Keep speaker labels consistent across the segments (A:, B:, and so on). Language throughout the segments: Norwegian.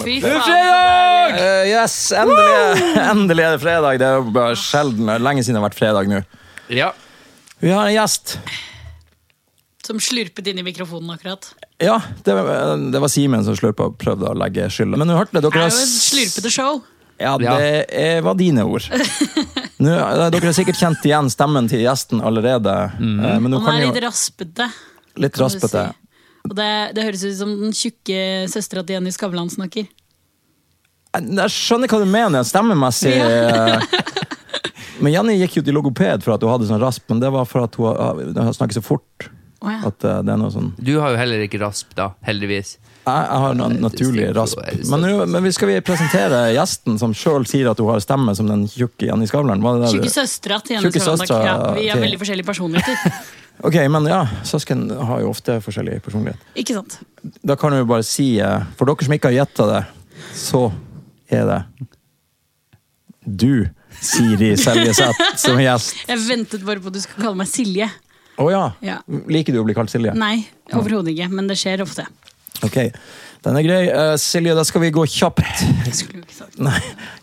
A: Fy
B: Det er
A: faen.
B: fredag!
C: Eh, yes, endelig, endelig er det fredag. Det er jo bare sjelden, det er lenge siden det har vært fredag nå.
B: Ja.
C: Vi har en gjest.
A: Som slurpet inn i mikrofonen akkurat.
C: Ja, det, var- det var Simen som slurpa og prøvde å legge skylda. Men nå hørte dere
A: Det er
C: har
A: jo et
C: s-
A: slurpete show.
C: Ja, det er, var dine ord. Nå, eh, dere har sikkert kjent igjen stemmen til gjesten allerede.
B: Mm.
C: eh, Men nå
A: Han
C: kan
A: er
C: jo
A: litt raspete.
C: litt
A: kan du
C: raspete.
A: si. Og det, det høres ut som den tjukke søstera til Jenny Skavlan snakker.
C: Jeg Eh, jeg skjønner hva du mener stemmemessig. eh. Men Jenny gikk jo til logoped for at hun hadde sånn rasp, men det var for at hun, eh, hun snakker så fort.
A: Å ja.
C: At eh, det er noe sånn
B: Du har jo heller ikke rasp, da. Heldigvis.
C: Jeg, jeg har en naturlig rasp. Men, nå- men vi skal vi presentere gjesten som sjøl sier at hun har stemme som den tjukke Jenny Skavlan? Var det
A: Tjukke
C: det du-
A: søstera til Jenny
C: Tjukke
A: Skavlan. takk.
C: søstera
A: Ja, vi har
C: til-
A: veldig forskjellige personligheter.
C: Ok, men ja, Søsken har jo ofte forskjellig personlighet.
A: Ikke sant?
C: Da kan vi jo bare si, eh, for dere som ikke har gjetta det, så er det du, Siri Seljeseth, som er gjest.
A: Jeg ventet bare på at du skulle kalle meg Silje.
C: Å ja.
A: Ja.
C: Liker du å bli kalt Silje?
A: Nei, overhodet ikke. Men det skjer ofte.
C: Ok, den er grei. Eh, Silje, da skal vi gå kjapt
A: Jeg skulle jo ikke sagt det.
C: Nei,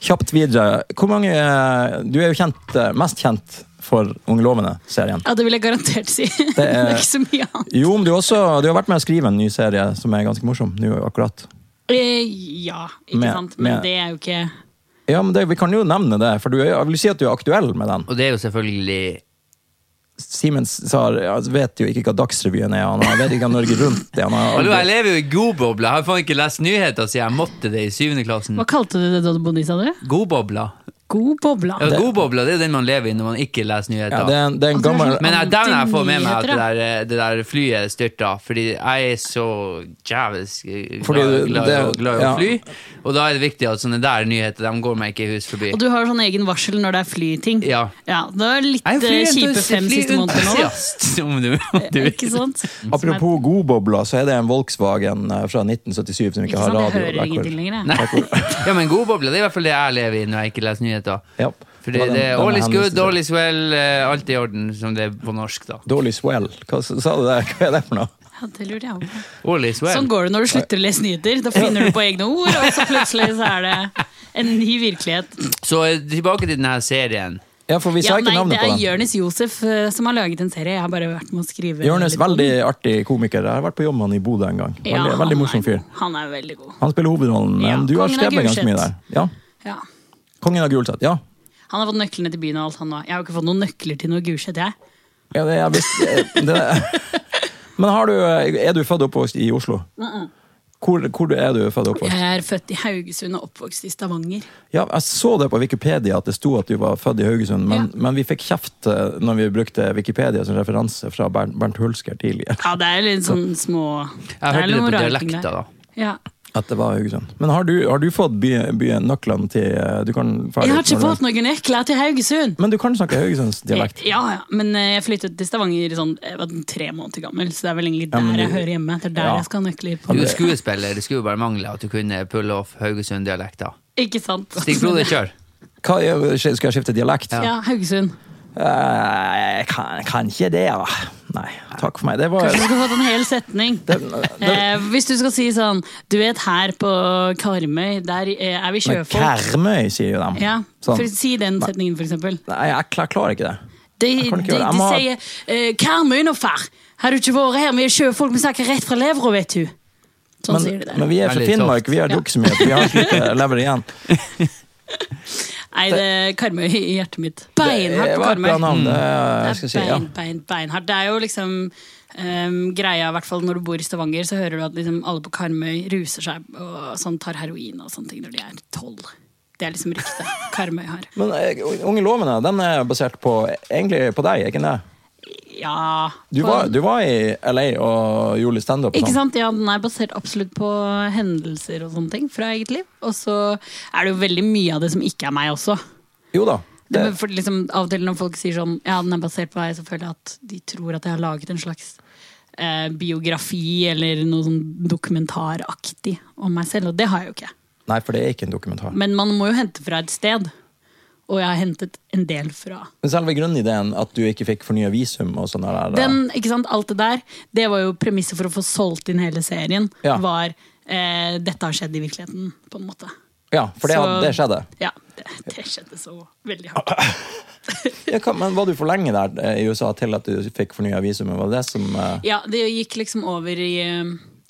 C: kjapt videre. Hvor mange eh, Du er jo kjent, eh, mest kjent for Ungelovene-serien.
A: Ja, det vil jeg garantert si. Det er,
C: er-
A: ikke så mye annet.
C: Jo, men du, har også, du har vært med å skrive en ny serie som er ganske morsom. nå akkurat.
A: Eh, Ja, ikke
C: Med-
A: sant. Men
C: med-
A: det er jo ikke
C: Ja, men det, Vi kan jo nevne det, for du er, jeg vil si at du er aktuell med den.
B: Og det er jo selvfølgelig
C: Simen Saar ja, vet jo ikke hva Dagsrevyen er, han har- vet ikke hva Norge Rundt er. Han har
B: Hallo, jeg
C: aldri,
B: lever jo i godbobla. Jeg har faen ikke lest nyheter siden jeg måtte det i syvende klassen.
A: Hva kalte du det da du bodde i, sa du?
B: Godbobla.
A: God bobla.
B: Ja, godbobla det er den man lever i når man ikke leser nyheter.
C: ja, det, er en, det er en
A: Altså,
C: gammel
B: Men jeg dæven jeg får med meg at det
A: Nyheter,
B: der, det der flyet styrta, fordi jeg er så djevelsk glad,
C: Fordi du-
B: glad, i å-
C: det-
B: glad i å
C: ja.
B: fly, og da er det viktig at sånne der nyheter de går meg ikke i hus forbi.
A: Og du har sånn egen varsel når det er flyting.
B: Ja.
A: det var litt
B: Jeg er
A: eh, kjipe
B: flyentus-
A: fem siste månedene nå. Eh,
B: flyentusiast, om du, om du vil.
A: Ikke sant? Som er-
C: Apropos godbobla, så er det en Volkswagen eh, fra 1977 som
A: Ikke
C: ikke har
A: sant, jeg
C: radio.
A: hører ingenting lenger. jeg.
B: Nei. Ja, men godbobla, det er i hvert fall det jeg lever i når jeg ikke leser nyheter.
C: Ja.
B: For
C: Det var
B: det,
C: den-
B: det er
C: den
B: all is
C: jeg
B: good,
C: henviste
B: all
C: til.
B: is well, eh, alt i orden, som det er på norsk, da.
C: Dårlig swell. Hva s- sa du der? Hva er det for noe?
A: Ja, det lurer jeg på.
B: All is well.
A: Sånn går det når du slutter å lese nyheter. Da finner du på egne ord, og så plutselig så er det en ny virkelighet.
B: Så eh, tilbake til denne serien.
C: Ja, for vi sa
A: Ja,
C: ikke
A: nei, det
C: navnet på
A: er
C: den.
A: Jonis Josef eh, som har laget en serie. Jeg har bare vært med å skrive.
C: Jonis,
A: litt om
C: veldig
A: den.
C: artig komiker. Jeg har vært på jobb med han i Bodø en gang. Veldig,
A: Ja, han
C: veldig morsom
A: er
C: fyr.
A: god. Han er veldig god.
C: Han spiller hovedrollen, men
A: Ja,
C: du har
A: kongen av
C: skrevet ganske mye der.
A: Gulset.
C: Ja.
A: Ja.
C: Kongen av Gulset, ja.
A: Han har fått nøklene til byen og alt, han nå. Jeg har jo ikke fått noen nøkler til noe Gulset, jeg.
C: ja det, jeg visste, det. Men har du, er du født og oppvokst i Oslo? Hvor, hvor er du født og oppvokst?
A: Jeg er født i Haugesund og oppvokst i Stavanger.
C: Ja, jeg så det på Wikipedia at det sto at du var født i Haugesund, men,
A: Ja.
C: men vi fikk kjeft eh, når vi brukte Wikipedia som referanse fra Bernt, Bernt Hulsker tidligere.
A: Ja, det er litt sånn små
B: Jeg
A: er
B: hørte det
A: noen
B: på
A: rare ting
B: dialekta,
A: der.
B: da.
A: Ja.
C: At det var Haugesund. Men har du, har du fått by, by, nøklene til eh, Du kan ferdig
A: Jeg har
C: ut når
A: ikke
C: du-
A: fått noen nøkler til Haugesund!
C: Men du kan snakke Haugesundsdialekt.
A: Ja, ja, men eh, jeg flyttet til Stavanger sånn, jeg var tre måneder gammel, så det er vel egentlig der
C: men
A: jeg
C: du-
A: hører hjemme. Det er der
C: Ja.
A: jeg skal ha nøkler.
B: Du
A: på.
B: er skuespiller, det skulle jo bare mangle at du kunne pulle off Haugesund-dialekta.
A: Ikke sant?
B: Stig Frode, kjør!
C: Hva, er- skal jeg skifte dialekt?
A: Ja, Haugesund.
C: Eh, jeg kan, jeg kan ikke det, da. Nei, takk for meg. Det var
A: Du skulle fått en hel setning. eh, hvis du skal si sånn Du vet her på Karmøy, der eh, er vi
C: Men
A: sjøfolk.
C: Karmøy, sier jo de.
A: Ja,
C: Sånn.
A: for, Si den setningen, for eksempel.
C: Nei, jeg, klar, klarer ikke det.
A: De,
C: Jeg
A: de,
C: kan ikke
A: de,
C: gjøre det. Jeg må ha-
A: sier eh, 'Karmøy nå, far'. Har du ikke vært her? Vi er sjøfolk, vi snakker rett fra levra, vet du. Sånn
C: Men,
A: sier de der.
C: men vi er fra
B: Veldig
C: Finnmark,
B: tøft.
C: vi har drukket så mye at vi har ikke lever igjen.
A: Nei, det er Karmøy i hjertet mitt.
C: Det
A: Beinhardt på
C: var et
A: Karmøy. Mm.
C: bra navn. Det, jeg
A: Det
C: skal
A: er
C: si, ja.
A: bein, bein, beinhardt. Det er jo liksom ehm, greia, i hvert fall når du bor i Stavanger, så hører du at liksom alle på Karmøy ruser seg og sånn, tar heroin og sånne ting når de er tolv. Det er liksom ryktet Karmøy har.
C: Men eh, Unge lovende, den er basert på egentlig på deg, er ikke det?
A: Ja
C: Du
A: på-
C: var, du var i LA og gjorde litt standup. og
A: Ikke
C: sånn.
A: sant? Ja, den er basert absolutt på hendelser og sånne ting fra eget liv. Og så er det jo veldig mye av det som ikke er meg også.
C: Jo da.
A: Det,
C: Det,
A: men for liksom, av og til når folk sier sånn Ja, den er basert på meg, så føler jeg at de tror at jeg har laget en slags eh, biografi eller noe sånn dokumentaraktig om meg selv, og det har jeg jo ikke.
C: nei, for det er ikke en dokumentar.
A: Men man må jo hente fra et sted, og jeg har hentet en del fra
C: Men selve grunnideen at du ikke fikk fornya visum og sånn der,
A: Den, ikke sant, alt det der, det var jo premisset for å få solgt inn hele serien.
C: Ja.
A: Var eh, dette har skjedd i virkeligheten, på en måte.
C: Ja, for det,
A: Så-
C: det skjedde.
A: Ja, det, det skjedde så veldig hardt.
C: Ja, hva- men Var du for lenge der eh, i USA til at du fikk fornya visum? Var det det som eh,
A: Ja, det gikk liksom over i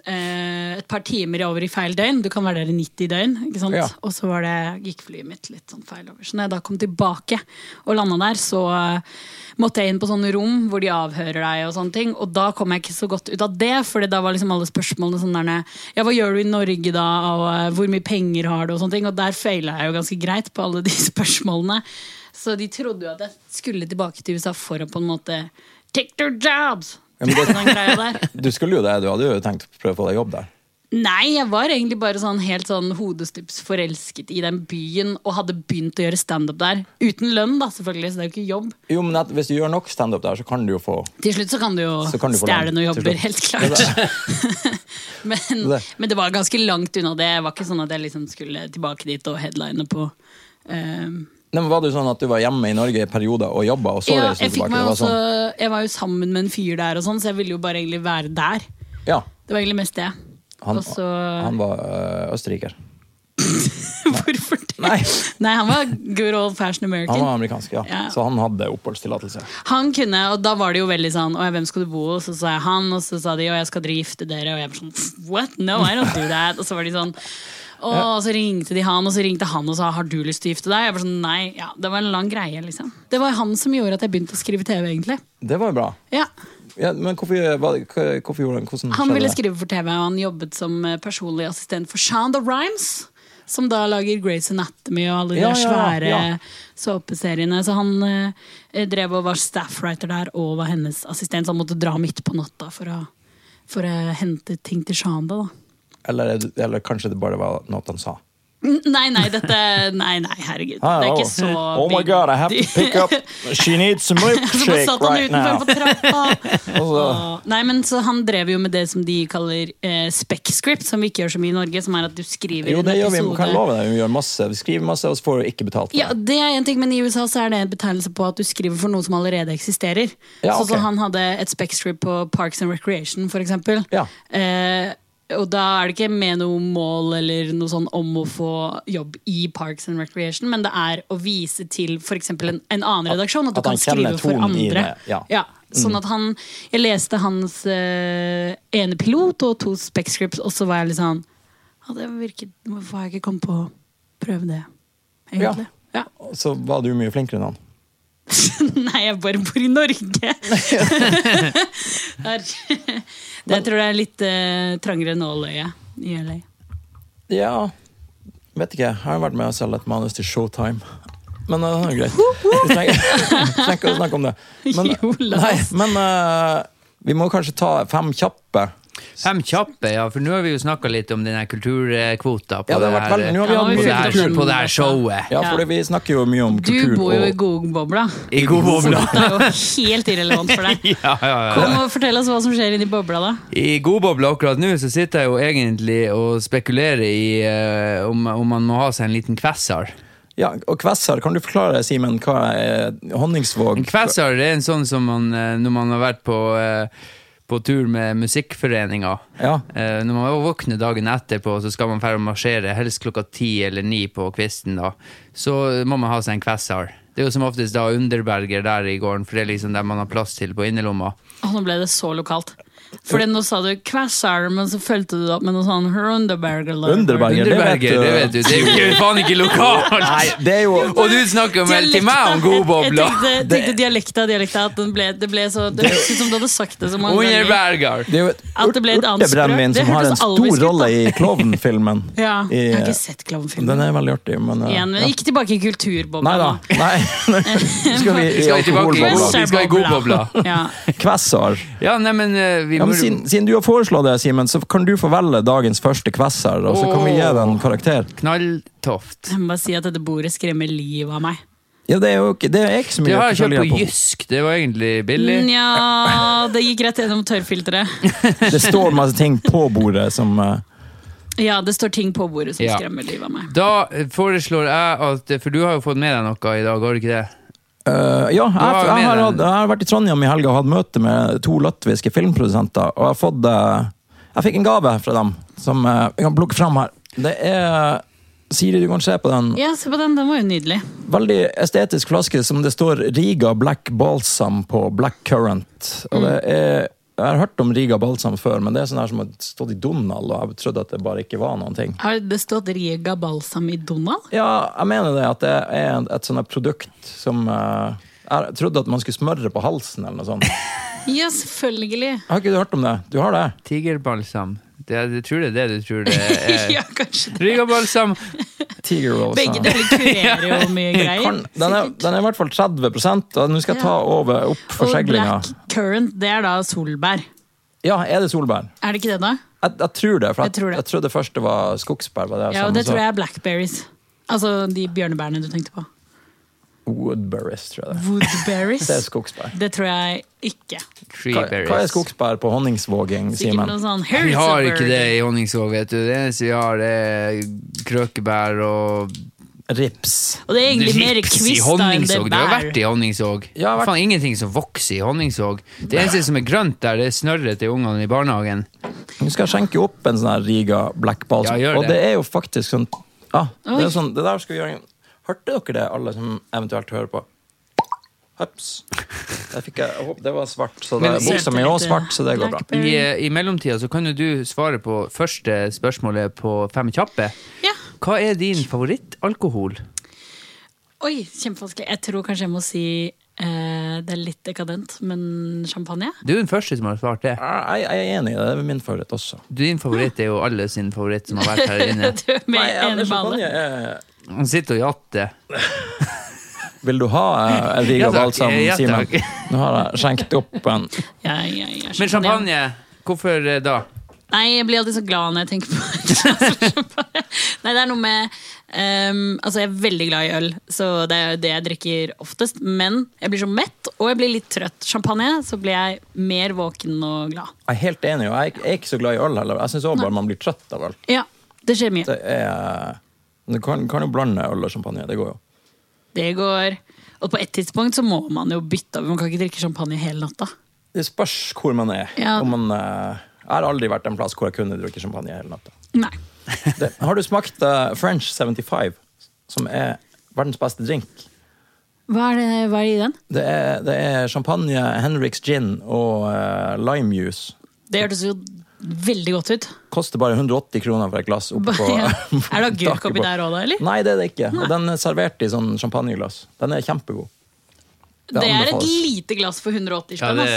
A: eh, et par timer over i feil døgn. Du kan være der i 90 døgn. ikke sant?
C: Ja.
A: Og så var det, gikk flyet mitt litt sånn feil over. Så når jeg da kom tilbake og landa der, så eh, måtte jeg inn på sånne rom hvor de avhører deg. Og sånne ting. Og da kom jeg ikke så godt ut av det, for da var liksom alle spørsmålene sånn der Ja, hva gjør du i Norge da, og eh, hvor mye penger har du, og sånne ting. Og der faila jeg jo ganske greit på alle de spørsmålene. Så de trodde jo at jeg skulle tilbake til USA for å på en måte Take their jobs!
C: Ja, men det-
A: Den greia der.
C: Du skulle jo det, du hadde jo tenkt å prøve å få deg jobb der.
A: Nei, jeg var egentlig bare sånn helt sånn hodestups forelsket i den byen og hadde begynt å gjøre standup der. Uten lønn, da, selvfølgelig, så det er jo ikke jobb.
C: Jo, men at, Hvis du gjør nok standup der, så kan du jo få
A: Til slutt så kan du jo
C: Så kan du få
A: stjele
C: lønn,
A: noen
C: til
A: jobber,
C: slutt.
A: helt klart. men,
C: Det.
A: men det var ganske langt unna det. Det var ikke sånn at jeg liksom skulle tilbake dit og headline på ehm,
C: Nei, men Var det jo sånn at du var hjemme i Norge i perioder og jobba, og så
A: ja,
C: reiste
A: jeg,
C: du
A: fikk
C: tilbake?
A: meg
C: Det var
A: også,
C: sånn,
A: jeg var jo sammen med en fyr der, og sånn, så jeg ville jo bare egentlig være der.
C: ja,
A: Det var egentlig mest det.
C: han,
A: og så
C: han var øh, østerriker.
A: Hvorfor det?
C: Nei,
A: Nei, han var good old fashion American.
C: han var amerikansk, ja.
A: Ja.
C: Så han hadde oppholdstillatelse.
A: Han kunne, og da var det jo veldig sånn «Å, ja, Hvem skal du bo hos? Og så sa jeg han, og så sa de jo, jeg skal dere gifte dere. Og jeg var sånn What? No, I don't do that. Og så var de sånn «Å», og så ringte de han, og så ringte han og sa har du lyst til å gifte deg? Jeg var sånn, nei, ja, Det var en lang greie, liksom. Det var han som gjorde at jeg begynte å skrive TV, egentlig.
C: Det var jo bra.
A: Ja,
C: Ja, men hvorfor, hva, hva- hvorfor gjorde han hvordan
A: Han
C: skjedde
A: ville
C: det?
A: skrive for TV, og han jobbet som eh, personlig assistent for Shonda Rhimes. Som da lager Grace Anatomy og alle de
C: Ja,
A: der
C: ja,
A: svære
C: ja.
A: såpeseriene. Så han eh, drev og var staffwriter der og var hennes assistent, så han måtte dra midt på natta for å, for å hente ting til Shonda. da.
C: Eller, er det- eller kanskje det bare var noe han sa.
A: N- Nei, nei, dette Nei, nei, herregud.
C: Ah,
A: det er
C: oh.
A: ikke så
C: Oh my
A: big
C: god, I have to
A: deal.
C: pick up She needs a
A: Så bare
C: milkshake
A: satt han
C: right now.
A: utenfor på trappa.
C: Og så-
A: Åh. Nei, men så Han drev jo med det som de kaller eh, spec-script, som vi ikke gjør så mye i Norge. Som er at du skriver
C: Jo,
A: en
C: det gjør vi.
A: episode.
C: Kan jeg love deg. Vi gjør masse. Vi skriver masse, og så får vi ikke betalt for
A: Ja,
C: det.
A: det er en ting, men I USA så er det en betegnelse på at du skriver for noe som allerede eksisterer.
C: Ja,
A: Sånn som
C: ok.
A: han hadde et spec-script på Parks and Recreation, for eksempel.
C: Ja.
A: Eh, og da er det ikke med noe mål eller noe sånn om å få jobb i Parks and Recreation, men det er å vise til f.eks. En, en annen redaksjon at du
C: at han
A: kan skrive
C: kjenner
A: for
C: tonen i
A: andre.
C: det, ja. Mm.
A: Sånn at han Jeg leste hans eh, ene pilot og to spec-scripts, og så var jeg litt sånn ja, det virket, Hvorfor har jeg ikke kommet på å prøve det, egentlig? Ja.
C: Og Så var du mye flinkere enn han.
A: Nei, jeg bare bor i Norge! Her. det, jeg tror det er litt eh, trangere nåløye i LA.
C: Ja, vet ikke. Jeg har vært med å selge et manus til Showtime. Men eh, det er greit. Vi trenger vi trenger ikke å snakke om det. Men,
A: Jo, la
C: nei,
A: oss.
C: men eh, vi må kanskje ta fem kjappe.
B: Fem kjappe, ja, for nå har vi jo snakka litt om den her kulturkvota på,
C: Ja, det har
B: det
C: vært
B: her, eh,
C: veldig- nå har vi
A: Ja,
C: hatt
B: på, det
C: mye
A: vært
B: her,
A: kultur.
C: kultur.
B: på det her showet.
C: Ja, for
A: Ja.
C: vi snakker jo mye om kultur.
A: Du bor jo i
C: og,
A: Gogbobla,
B: I god bobla.
A: så det er jo helt irrelevant for deg.
B: Ja, ja, ja.
A: Kom og fortell oss hva som skjer inni bobla, da.
B: I godbobla akkurat nå så sitter jeg jo egentlig og spekulerer i eh, om, om man må ha seg en liten kvessar.
C: ja, og Kvessar, kan du forklare Simen hva er Honningsvåg
B: En kvessar det er en sånn som man eh, når man har vært på, eh, på tur med musikkforeninga.
C: Ja.
B: Eh, Når man våkner dagen etterpå, så skal man ferdig marsjere, helst klokka ti eller ni på kvisten. da. Så må man ha seg en kvessar. Det er jo som oftest da underberger der i gården, for det er liksom der man har plass til på innerlomma.
A: Å, nå ble det så lokalt. For nå sa du 'Kvassar', men så fulgte du det opp med noe sånn Runderberger.
C: Underberger, det vet
B: Underberger,
C: du.
B: det vet du, det er jo ikke- faen ikke lokalt!
C: Nei, det er jo
B: Og du snakker vel til meg om godbobla!
A: Jeg tenkte, tenkte dialekta, dialekta. At den ble, det ble så Det høres ut som du hadde sagt det så mange ganger.
B: Underberger.
C: Det er jo et
A: At det ble et annet språk.
C: urtebrennevin
A: Det
C: som har en
A: hørtes alvisk ut,
C: stor
A: da.
C: rolle i klovnfilmen.
A: Ja,
C: I,
A: jeg har ikke sett klovnfilmen.
C: den er veldig artig, men uh,
A: Igjen, men
C: ja.
A: Ikke tilbake i kulturbobla.
C: Nei da.
A: nå.
C: Nei. Nå skal vi i
B: Skal vi tilbake i-
C: alkoholbobla.
B: Vi skal i godbobla.
A: Ja.
C: Kvessar.
B: Ja, nei, men eh, vi
C: Ja,
B: må
C: men siden, siden du har foreslått det, Simen, så kan du få velge dagens første kvessar, og så kan vi gi den karakter.
B: Knalltoft.
A: Jeg må bare si at dette bordet skremmer livet av meg.
C: Ja, det er jo ikke, det er ikke så
B: Det
C: mye
B: har jeg kjøpt
C: forskjellighet
B: på Jysk. Det var egentlig billig.
A: Mm, Nja, det gikk rett gjennom tørrfilteret.
C: Det står masse ting på bordet som uh,
A: Ja, det står ting på bordet som
B: Ja.
A: skremmer livet av meg.
B: Da eh, foreslår jeg at eh, For du har jo fått med deg noe i dag, har du ikke det?
C: Uh, ja, jeg,
B: har
C: jeg, har,
B: med
C: hatt-
B: den.
C: jeg har vært i Trondheim i helga og hatt møte med to latviske filmprodusenter, og jeg har fått uh, jeg Jeg fikk en gave fra dem som eh, jeg kan plukke fram her. Det er Siri, du kan se på den.
A: Ja, se på den. Den var jo nydelig.
C: Veldig estetisk flaske som det står Riga Black Balsam på. Black Current. Og det er, jeg har hørt om Riga Balsam før, men det er sånn her som har stått i Donald, og jeg trodde at det bare ikke var noen ting.
A: Har det stått Riga Balsam i Donald?
C: Ja, jeg mener det. At det er et, et sånt her produkt som eh, Jeg trodde at man skulle smøre på halsen eller noe sånt.
A: Ja, selvfølgelig.
C: Har ikke du hørt om det? Du har det?
B: Tigerbalsam. Det, jeg tror det er det du tror det
C: Eh,
B: er.
A: Ja, kanskje det.
B: Rygabalsam!
C: Tiger Rose.
A: Begge deler kurerer jo mye greier.
C: Kan- Den er, den er i hvert fall 30 og nå skal jeg ta
A: Ja.
C: over opp
A: Og
C: forseglinga.
A: black currant, det er da solbær.
C: Ja, er det solbær?
A: Er det ikke det, da?
C: Jeg, jeg tror det, for jeg,
A: Jeg tror det.
C: jeg trodde først det var skogsbær. Var det jeg
A: Ja,
C: sa,
A: og
C: men
A: det
C: så-
A: tror jeg er blackberries. Altså de bjørnebærene du tenkte på.
C: Woodberries, tror jeg det. er.
A: Woodberries.
C: Det er skogsbær.
A: Det tror jeg ikke.
C: Hva, hva er skogsbær på honningsvåging,
A: Sikkert noe
C: Simen?
A: sånn
B: Vi har ikke det
A: Harrisonburg.
B: i Honningsvåg, vet du. Det eneste vi har, er krøkebær og
C: Rips.
A: Og det er egentlig mer
B: Rips i
A: kvister enn det
B: Honningsvåg.
A: er
B: Du har vært
A: bær.
B: i Honningsvåg.
C: Jeg har vært-
B: Faen, ingenting som vokser i Honningsvåg. Det eneste som er grønt der, det er snørret til ungene i barnehagen.
C: Nå skal jeg skjenke opp en sånn her Riga Black Balsam.
B: Ja, gjør
C: Og
B: det.
C: det er jo faktisk sånn Ja, det, er
A: Oi.
C: sånn, det der skal vi gjøre en- Hørte dere det, alle som eventuelt hører på? Høps. Der fikk jeg, jeg håper- det var svart, så det,
B: Men-
C: buksa mi er også svart, så det går bra.
B: I, eh,
A: Blackberry.
B: I mellomtida så kan jo du svare på første spørsmålet på Fem kjappe.
A: Ja.
B: Hva er din favorittalkohol?
A: Oi, kjempevanskelig. Jeg tror kanskje jeg må si eh, det er litt dekadent, men champagne?
B: Du er den første som har svart det.
C: Ah, Jeg, jeg er enig i det. Det er min favoritt også.
B: Din favoritt er jo alle sin favoritt som har vært her inne.
A: Du er med
C: Nei, ja,
A: ene
C: men champagne
A: ballet.
C: er eh,
B: Han sitter og jatter.
C: Vil du ha eh, en Riga
B: Ja, takk.
C: Balsam,
B: Ja,
C: Simen?
B: takk.
C: Nå har jeg skjenkt opp en.
A: Ja, ja, ja,
B: Men champagne, hvorfor eh, da?
A: Nei, jeg blir alltid så glad når jeg tenker på et glass med champagne. Nei, det er noe med ehm, Altså, jeg er veldig glad i øl, så det er jo det jeg drikker oftest. Men jeg blir så mett, og jeg blir litt trøtt. Champagne, så blir jeg mer våken og glad.
C: Jeg er helt enig, og jeg er ikke så glad i øl heller. Jeg syns også bare man blir trøtt av øl.
A: Ja, det skjer mye.
C: Det er Du kan, kan jo blande øl og champagne. Det går jo.
A: Det går Og på et tidspunkt så må man jo bytte av. Man kan ikke drikke champagne hele natta.
C: Det spørs hvor man er.
A: Ja.
C: Om man, eh, jeg har aldri vært en plass hvor jeg kunne drukke champagne hele natta.
A: Nei.
C: Det- Har du smakt eh, French 75, som er verdens beste drink?
A: Hva er det hva er det i den?
C: Det er, det er champagne, Henriks gin og eh, limejuice.
A: Det hørtes jo veldig godt ut.
C: Koster bare 180 kroner for et glass. Oppe på,
A: Ja. Er det agurk
C: taket
A: oppi
C: på-
A: der òg, da? eller?
C: Nei, det er det ikke. Og den er servert i sånn champagneglass. Den er kjempegod.
A: Det er et
C: anbefales.
A: lite glass for 180
B: Ja,
A: spenn.
B: det,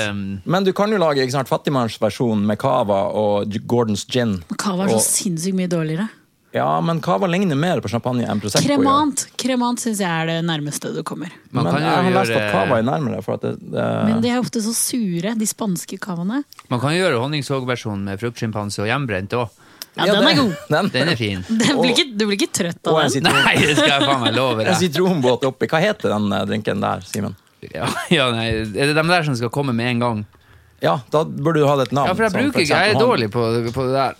A: ass.
C: Men du kan jo lage ikke sant, fattigmannsversjonen med cava og G- Gordons gin.
A: Men Cava er så
C: Og-
A: sinnssykt mye dårligere.
C: Ja, men cava ligner mer på champagne enn Prosecco. gjør.
A: Kremant Kremant syns jeg er det nærmeste du kommer.
B: man
C: men
B: kan
C: jeg
B: jo
C: har lest
B: gjøre-
C: at cava er nærmere. For at det, det,
A: Men de er ofte så sure, de spanske cavaene.
B: Man kan gjøre honningsågversjonen med fruktsjimpanse og hjemmebrent òg.
A: Ja,
C: Ja,
A: den er
C: det-
A: god!
C: Den,
B: Den er fin.
A: Den blir ikke, du blir ikke trøtt
C: og
A: av den.
C: en, sitron,
B: Nei, det skal jeg faen meg love
C: en
B: deg.
C: sitronbåt oppi. Hva heter den eh, drinken der, Simen?
B: Ja, ja, nei, er det de der som skal komme med en gang?
C: Ja, da burde du ha det et navn.
B: Ja, Sånn, for jeg
C: som
B: bruker ikke,
C: eksempel
B: jeg er
C: hon-
B: dårlig på, på det der.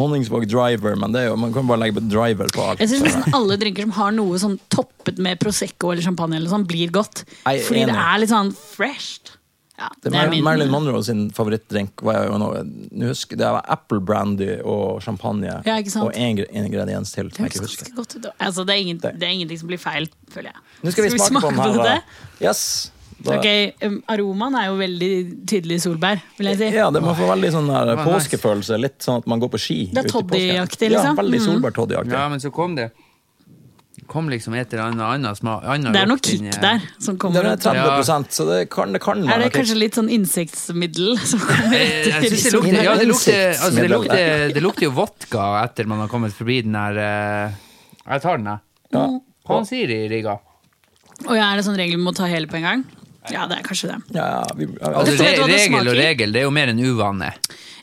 C: Honningsvåg Driver, men det er jo, man kan bare legge på driver på alt.
A: Jeg syns nesten alle drinker som har noe sånn toppet med Prosecco eller champagne, eller sånn, blir godt.
C: Jeg er
A: Fordi det
C: enig.
A: er litt sånn fresh. Ja,
C: Det
A: det er min-
C: Marilyn Monroe sin favorittdrink var jo noe, nå husker, det var apple brandy og champagne.
A: Ja, ikke sant?
C: Og en gre- ingrediens til. som
A: Det
C: jeg ikke
A: høres
C: husker.
A: ganske godt ut. da. Altså, det, er ingen,
C: Det-
A: det er ingenting som blir feil, føler jeg.
C: Nå skal vi smake, på den her.
A: det?
C: da. Yes. Da-
A: Ok, um, Aromaen er jo veldig tydelig solbær, vil jeg si.
C: Ja, det må få veldig sånn der
B: var nice.
C: påskefølelse. Litt sånn at man går på ski.
A: Det er
C: ute i påsken.
A: toddyaktig, liksom.
C: Ja, veldig
A: Mm.
C: solbærtoddyaktig.
B: Ja, men så kom det Kom liksom et eller annet annet smak annet
A: Det er noe
B: lukt inn i-
A: kick der som
C: Den
A: kommer.
C: er
A: ut.
C: 30 så det kan, det kan
A: Er
C: være
A: det
C: noe kick.
A: kanskje litt sånn insektsmiddel som kommer
B: Eh, Jeg,
A: etter?
B: jeg synes det lukter,
C: Min
B: ja, det lukter, altså, det,
C: innsiktsmiddel.
B: lukter, det lukter jo vodka etter man har kommet forbi den der eh, Jeg tar den, jeg.
C: Ja.
B: Hva han sier i Riga?
A: Og ja, er det sånn regel vi må ta hele på en gang? Ja, det er kanskje det.
C: Ja, ja, vi, ja,
B: Altså,
A: Vet du
B: re
A: hva det
B: regel og
A: smaker?
B: regel, det er jo mer enn uvane.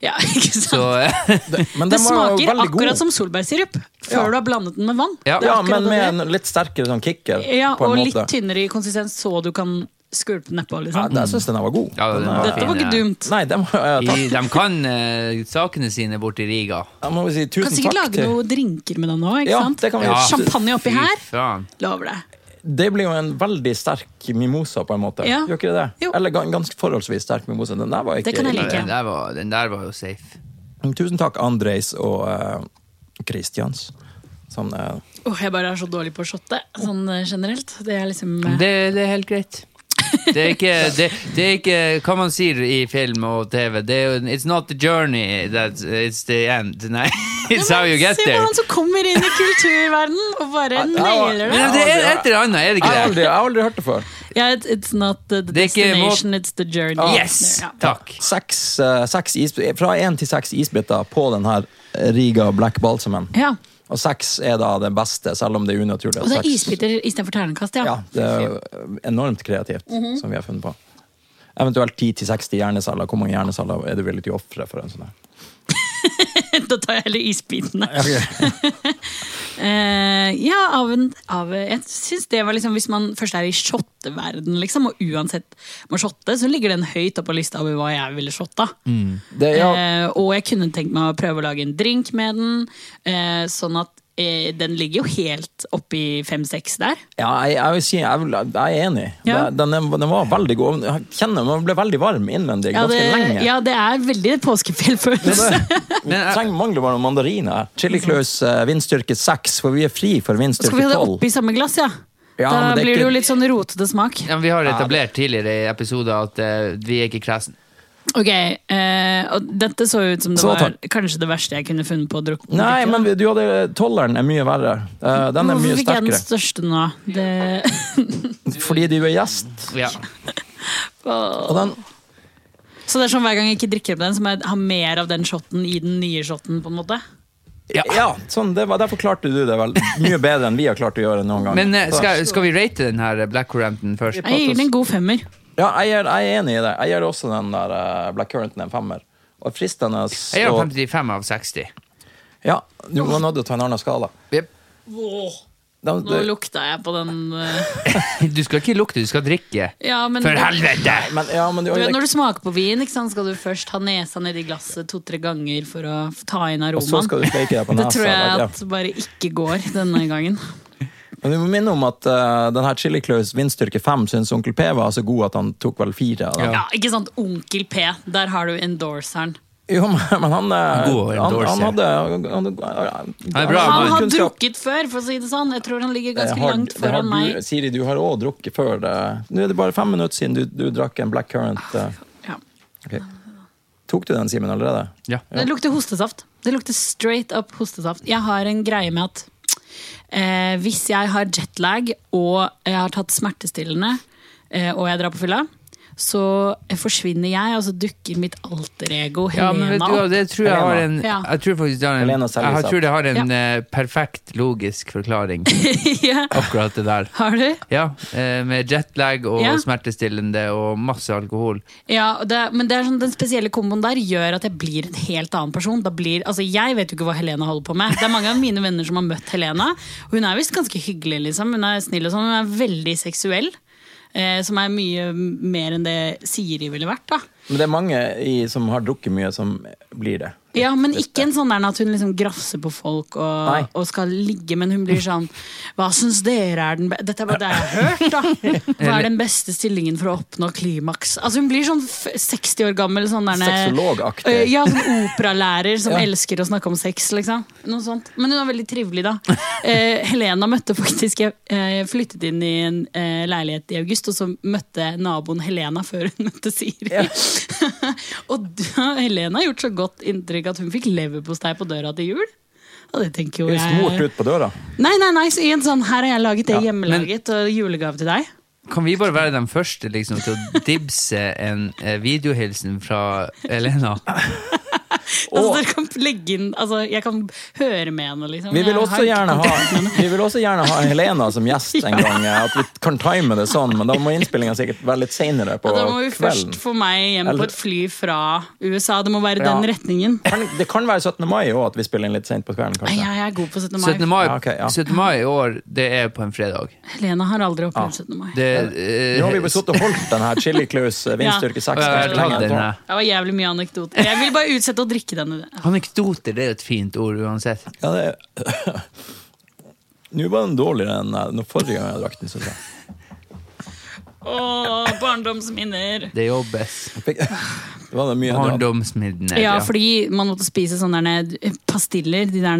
A: Ja, ikke sant?
B: Så
C: men
A: det
C: den var jo
A: smaker
C: veldig god.
A: akkurat som solbærsirup før du har blandet den med vann.
B: Ja.
A: Det er
C: Ja,
A: akkurat
C: men med
A: det.
C: en litt sterkere sånn kicker.
A: ja,
C: på
A: Og
C: en
A: litt
C: måte.
A: tynnere i konsistens, så du kan skvulpe den nedpå.
C: Ja,
A: Liksom.
C: det- jeg syns den var god.
B: Ja, den var
A: Dette
B: fin,
A: var ikke
B: ja.
A: dumt.
C: Nei, den var, ja, takk.
B: i, de kan eh, sakene sine borte i Riga.
C: Da må vi si
A: Kan
C: tusen
A: sikkert
C: takk
A: lage
C: til
A: noen drinker med den nå. ikke
C: Ja,
A: sant?
C: det kan vi Ja. gjøre.
A: Champagne oppi
B: Fy
A: her.
B: faen.
A: Lover det.
C: Det blir jo en veldig sterk mimosa, på en måte.
A: Ja.
C: Gjør ikke det det?
A: Jo.
C: Eller gan- ganske forholdsvis sterk mimosa. Den der var ikke
A: Det kan jeg
B: Ja,
A: like.
B: Den der, var, den der var jo safe.
C: Tusen takk, Andrejs og eh, Christians. Sånn, eh,
A: Åh, jeg bare er så dårlig på å shotte, sånn eh, generelt. Det er liksom eh,
B: Det, det er helt greit. Det er ikke, det, det er ikke hva man sier i film og TV. Det er, jo- it's not the journey, that's, it's the end. Nei, it's how you get
A: Se på
B: there.
A: han som kommer inn i kulturverden og bare nailer det.
B: Men det er et eller annet, er
C: jeg,
B: det
C: har
B: ikke
C: aldri,
B: det?
C: jeg har aldri hørt det før.
A: Ja, it- it's not the, the
B: Det er ikke
A: destination, it's the journey.
B: Yes!
A: Ja.
B: Takk.
C: Seks, eh, seks is, fra én til seks isbiter på den her Riga Black Balsamen.
A: Ja.
C: Og seks er da det beste, selv om det er unaturlig.
A: Og så er
C: at seks-
A: isbiter istedenfor ternekast, ja.
C: Ja, det er enormt kreativt,
A: Mhm.
C: som vi har funnet på. Eventuelt 10-60 hjernesaler. Hvor mange hjernesaler er du villig til å ofre for en sånn her?
A: da tar jeg heller isbitene. Eh, ja, av en, av, jeg synes det var liksom Hvis man først er i shotteverden liksom, og uansett må shotte, så ligger den høyt oppe på lista over hva jeg ville shotta.
C: Det, ja,
A: Eh, og jeg kunne tenkt meg å prøve å lage en drink med den, eh, sånn at eh, den ligger jo helt oppi fem-seks der.
C: ja, jeg, jeg, vil si, jeg, vil, jeg er enig.
A: Ja.
C: Den, den, den var veldig god. Jeg kjenner man ble veldig varm innvendig
A: Ja, det,
C: ganske lenge.
A: ja, det er veldig påskefjellfølelse.
C: Vi
B: eh,
C: trenger mangler bare noen mandariner. Chili Claus eh, vindstyrke 6, for vi er fri for
A: Skal vi
C: vindstyrke
A: ha det
C: 12.
A: oppi samme glass, ja?
C: Ja,
A: da
C: men det er
A: blir det jo
C: ikke-
A: litt sånn rotete smak.
B: Ja, men vi har etablert tidligere i episoder at eh, vi er ikke kresen.
A: Ok, eh, og dette så ut som det
C: Så
A: var
C: takk.
A: kanskje det verste jeg kunne funnet på å drukke.
C: Nei, men vi- du hadde tolleren er mye verre. Eh, Den er mye
A: Hvorfor fikk jeg den
C: sterkere.
A: største nå? Det...
C: Fordi du er gjest.
B: Ja.
C: Og den,
A: Så det er sånn hver gang jeg ikke drikker opp den, så må jeg ha mer av den shotten i den nye shotten, på en måte?
C: ja, sånn, det var, Derfor klarte du det vel mye bedre enn vi har klart å gjøre noen gang.
B: Men eh, skal, skal vi rate den her Blackcurranten først?
A: Jeg gir den en god femmer.
C: Ja, jeg er, jeg er enig i det. Jeg gjør også den der uh, Black Currenten en femmer. Og fristende
B: Jeg gir
C: og-
B: den 55 av 60.
C: Ja, du må nå ta en annen skala.
B: Jep.
C: De,
A: Nå
C: de,
A: lukta jeg på den eh,
B: Du skal ikke lukte, du skal drikke.
A: Ja, men
B: For helvete!
C: men, ja, men du,
A: du vet, når du smaker på vin, ikke sant, skal du først ha nesa nedi glasset to-tre ganger for å ta inn
C: og så
A: aromaen.
C: skal du steke deg på
A: Det
C: nesa.
A: tror jeg
C: eller-
A: at bare ikke går denne gangen.
C: ja. Men du må minne om at uh, den her Chili Claus vindstyrke 5 syns onkel P var så god at han tok vel fire. av den.
A: Ja, ikke sant? Onkel P, der har du endorseren.
C: Jo, men men han, eh,
B: God
C: han, han
B: endorser.
C: hadde han, han,
B: Han er bra,
A: Han har
C: kunnskap. Eh,
A: drukket før, for å si det sånn. Jeg tror han ligger
C: Det
A: ganske
C: har-
A: langt
C: det har
A: foran meg.
C: Du, Siri, du har òg drukket før det. Nå er det bare fem minutter siden du, du drakk en Black Current. eh.
A: Ja.
C: Ok. Tok du den, Simen, allerede?
B: Ja.
A: Det lukter hostesaft. Det lukter straight up hostesaft. Jeg har en greie med at eh, hvis jeg har jetlag og jeg har tatt smertestillende eh, og jeg drar på fylla, så forsvinner jeg, og så dukker mitt alter ego
B: Ja, men
A: Helena
B: vet du hva,
A: opp.
B: det tror jeg har en
A: Ja.
B: Jeg tror faktisk det har en,
C: Helena Seljeseth.
B: jeg tror det har en eh, perfekt logisk forklaring,
A: ja.
B: akkurat det der.
A: Har du?
B: Ja, eh, med jetlag og
A: Ja.
B: smertestillende og masse alkohol.
A: Ja, og det, men det er sånn, den spesielle komboen der gjør at jeg blir en helt annen person. Da blir, altså, jeg vet jo ikke hva Helena holder på med. Det er mange av mine venner som har møtt Helena. og Hun er visst ganske hyggelig, liksom. hun er snill og sånn. Hun er veldig seksuell. Eh, som er mye mer enn det Siri ville vært. da
C: Men det er mange i, som har drukket mye, som blir det.
A: Ja, men ikke en sånn der at hun liksom grafser på folk
C: Nei.
A: og, og skal ligge, men hun blir sånn Hva syns dere er den beste Dette er bare det jeg har hørt, da! Hva er den beste stillingen for å oppnå klimaks? Altså Hun blir sånn f 60 år gammel sånn der
C: Sexologaktig.
A: Eh, Ja, sånn operalærer som
C: Ja.
A: elsker å snakke om sex, liksom. Noe sånt. Men hun er veldig trivelig, da. Eh, Helena møtte faktisk Jeg eh, flyttet inn i en eh, leilighet i august, og så møtte naboen Helena før hun møtte Siri.
C: Ja.
A: og da, Helena har gjort så godt inntrykk at hun fikk leverpostei på døra til jul. Og det tenker jo
C: Blir smurt
A: jeg
C: ut på døra.
A: Nei, nei, nei, så i en sånn her har jeg laget det hjemmelaget, og julegave til deg.
B: Kan vi bare være de første liksom, til å dibse en eh, videohilsen fra Elena?
A: Altså, dere kan legge inn Altså, jeg kan høre med henne, liksom.
C: Vi vil
A: Jeg
C: også
A: har ikke
C: gjerne ha, vi vil også gjerne ha Helena som gjest en gang. eh, At vi kan time det sånn, men da må innspillinga sikkert være litt seinere på
A: Ja, da må vi
C: kvelden.
A: først få meg hjem på
C: Eller-
A: et fly fra USA. Det må være
C: Ja.
A: den retningen.
C: Kan, det kan være 17. mai òg, at vi spiller inn litt seint på kvelden.
A: Nei,
C: kanskje.
A: Jeg er god på 17. mai.
B: 17. Mai,
C: Ja, ok, ja.
B: 17. mai i år, det er på en fredag.
A: Helena har aldri opplevd 17. mai.
B: Det,
C: Nå har vi
B: eh,
C: bare sittet og holdt den her Chili Claus eh, vindstyrke 6.
B: og jeg har tatt den her.
A: Det var jævlig mye anekdoter. Jeg vil bare utsette å drikke den.
B: Anekdoter det er jo et fint ord uansett.
C: Ja, det Nå var den dårligere enn eh, når forrige gang jeg drakk den. synes jeg.
A: Å, barndomsminner.
B: Det jobbes.
C: Jeg fikk- Det Var det mye drap?
B: Barndomsminner.
A: Ja, fordi man måtte spise sånne derne pastiller, de der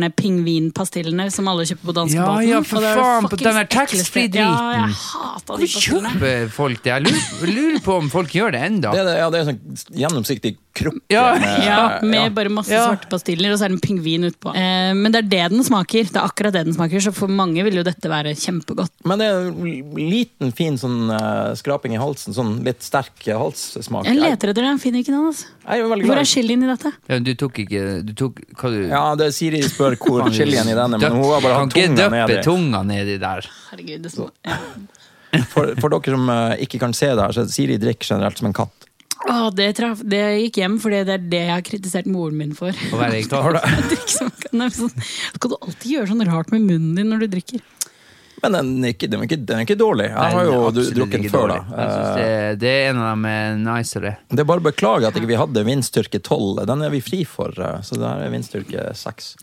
A: pingvinpastillene som alle kjøper på danskebåten.
B: Ja, ja, for
A: Og det er
B: faen, på
A: fuckings
B: den der taxfree-driten.
A: ekleste- Ja, jeg hata de
B: Hvorfor
A: pastillene.
B: kjøper folk det? Jeg lurer, lurer på om folk gjør det ennå.
C: Det er, det- ja, det er sånn gjennomsiktig krukke.
B: Ja.
C: med-
A: Eh, Ja, med
C: ja.
A: bare masse
B: Ja.
A: svarte pastiller, og så er det en pingvin utpå. Eh, men det er det den smaker. Det er akkurat det den smaker, så for mange vil jo dette være kjempegodt.
C: Men det er en liten, fin sånn eh, skraping i halsen. Sånn litt sterk halssmak.
A: Jeg leter etter det, jeg finner ikke den. altså.
C: Jeg er veldig
A: Hvor
C: glad.
A: er chilien i dette?
B: Ja, du tok ikke Du tok Hva du
C: Ja, det er Siri spør hvor chilien i denne, men hun har bare hatt
B: Kan
C: tunga
B: ikke døppe
C: nedi.
B: tunga nedi der.
A: Herregud, det smaker ja.
C: For, for dere som eh, ikke kan se det her, så er Siri drikker generelt som en katt.
A: Å, det, traff, det gikk hjem, fordi det er det jeg har kritisert moren min for.
B: Å være i katt.
A: Jeg drikker som- Nei, men sånn, Skal du alltid gjøre sånn rart med munnen din når du drikker?
C: Men den er ikke, den er ikke, den er ikke dårlig. Jeg har jo du,
B: Absolutt
C: drukket den
B: ikke
C: før,
B: dårlig.
C: da.
B: Jeg synes
C: Eh,
B: det, det er en av de eh, nicere.
C: Det er bare å beklage at ikke vi ikke hadde vindstyrke 12. Den er vi fri for, eh, så det her er vindstyrke 6.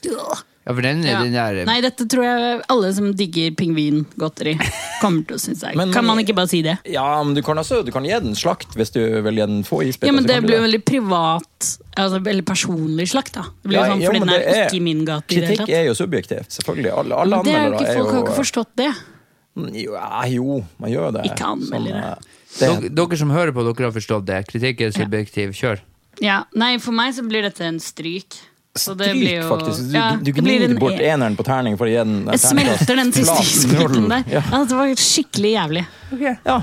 B: Ja, for den,
A: Ja.
B: den der
A: Nei, dette tror jeg alle som digger pingvingodteri, kommer til å synes er
C: Men-
A: Kan man ikke bare si det?
C: Ja, men du kan, altså, du kan gi den slakt hvis du vil gi den få isbiter.
A: Ja, men
C: så
A: Det
C: kan du
A: blir jo veldig privat, altså veldig personlig slakt. da Det blir jo
C: Ja,
A: sånn,
C: jo,
A: Fordi
C: men
A: den er
C: det er-
A: ikke min gate i det hele
C: Kritikk
A: tatt.
C: er jo subjektivt, selvfølgelig. Alle, alle
A: Men det er jo
C: anmeldere
A: ikke,
C: er jo Mm,
A: folk har jo ikke forstått det.
C: Jo, ja, jo, man gjør det.
A: Ikke anmeldere.
C: Sånn, eh,
B: dere,
C: det,
B: dere som hører på, dere har forstått det. Kritikk er subjektiv. Kjør.
A: Ja, Nei, for meg så blir dette en stryk. Så det blir
C: Stryk,
A: jo-
C: faktisk. Du,
A: ja,
C: du
A: det blir
C: gnir
A: en
C: bort
A: e-
C: eneren på terning for å gi den en
A: Jeg
C: terningkast.
A: smelter den siste
C: Flat
A: isbiten
C: null.
A: der.
C: Ja.
A: Ja, det var skikkelig jævlig.
C: ja,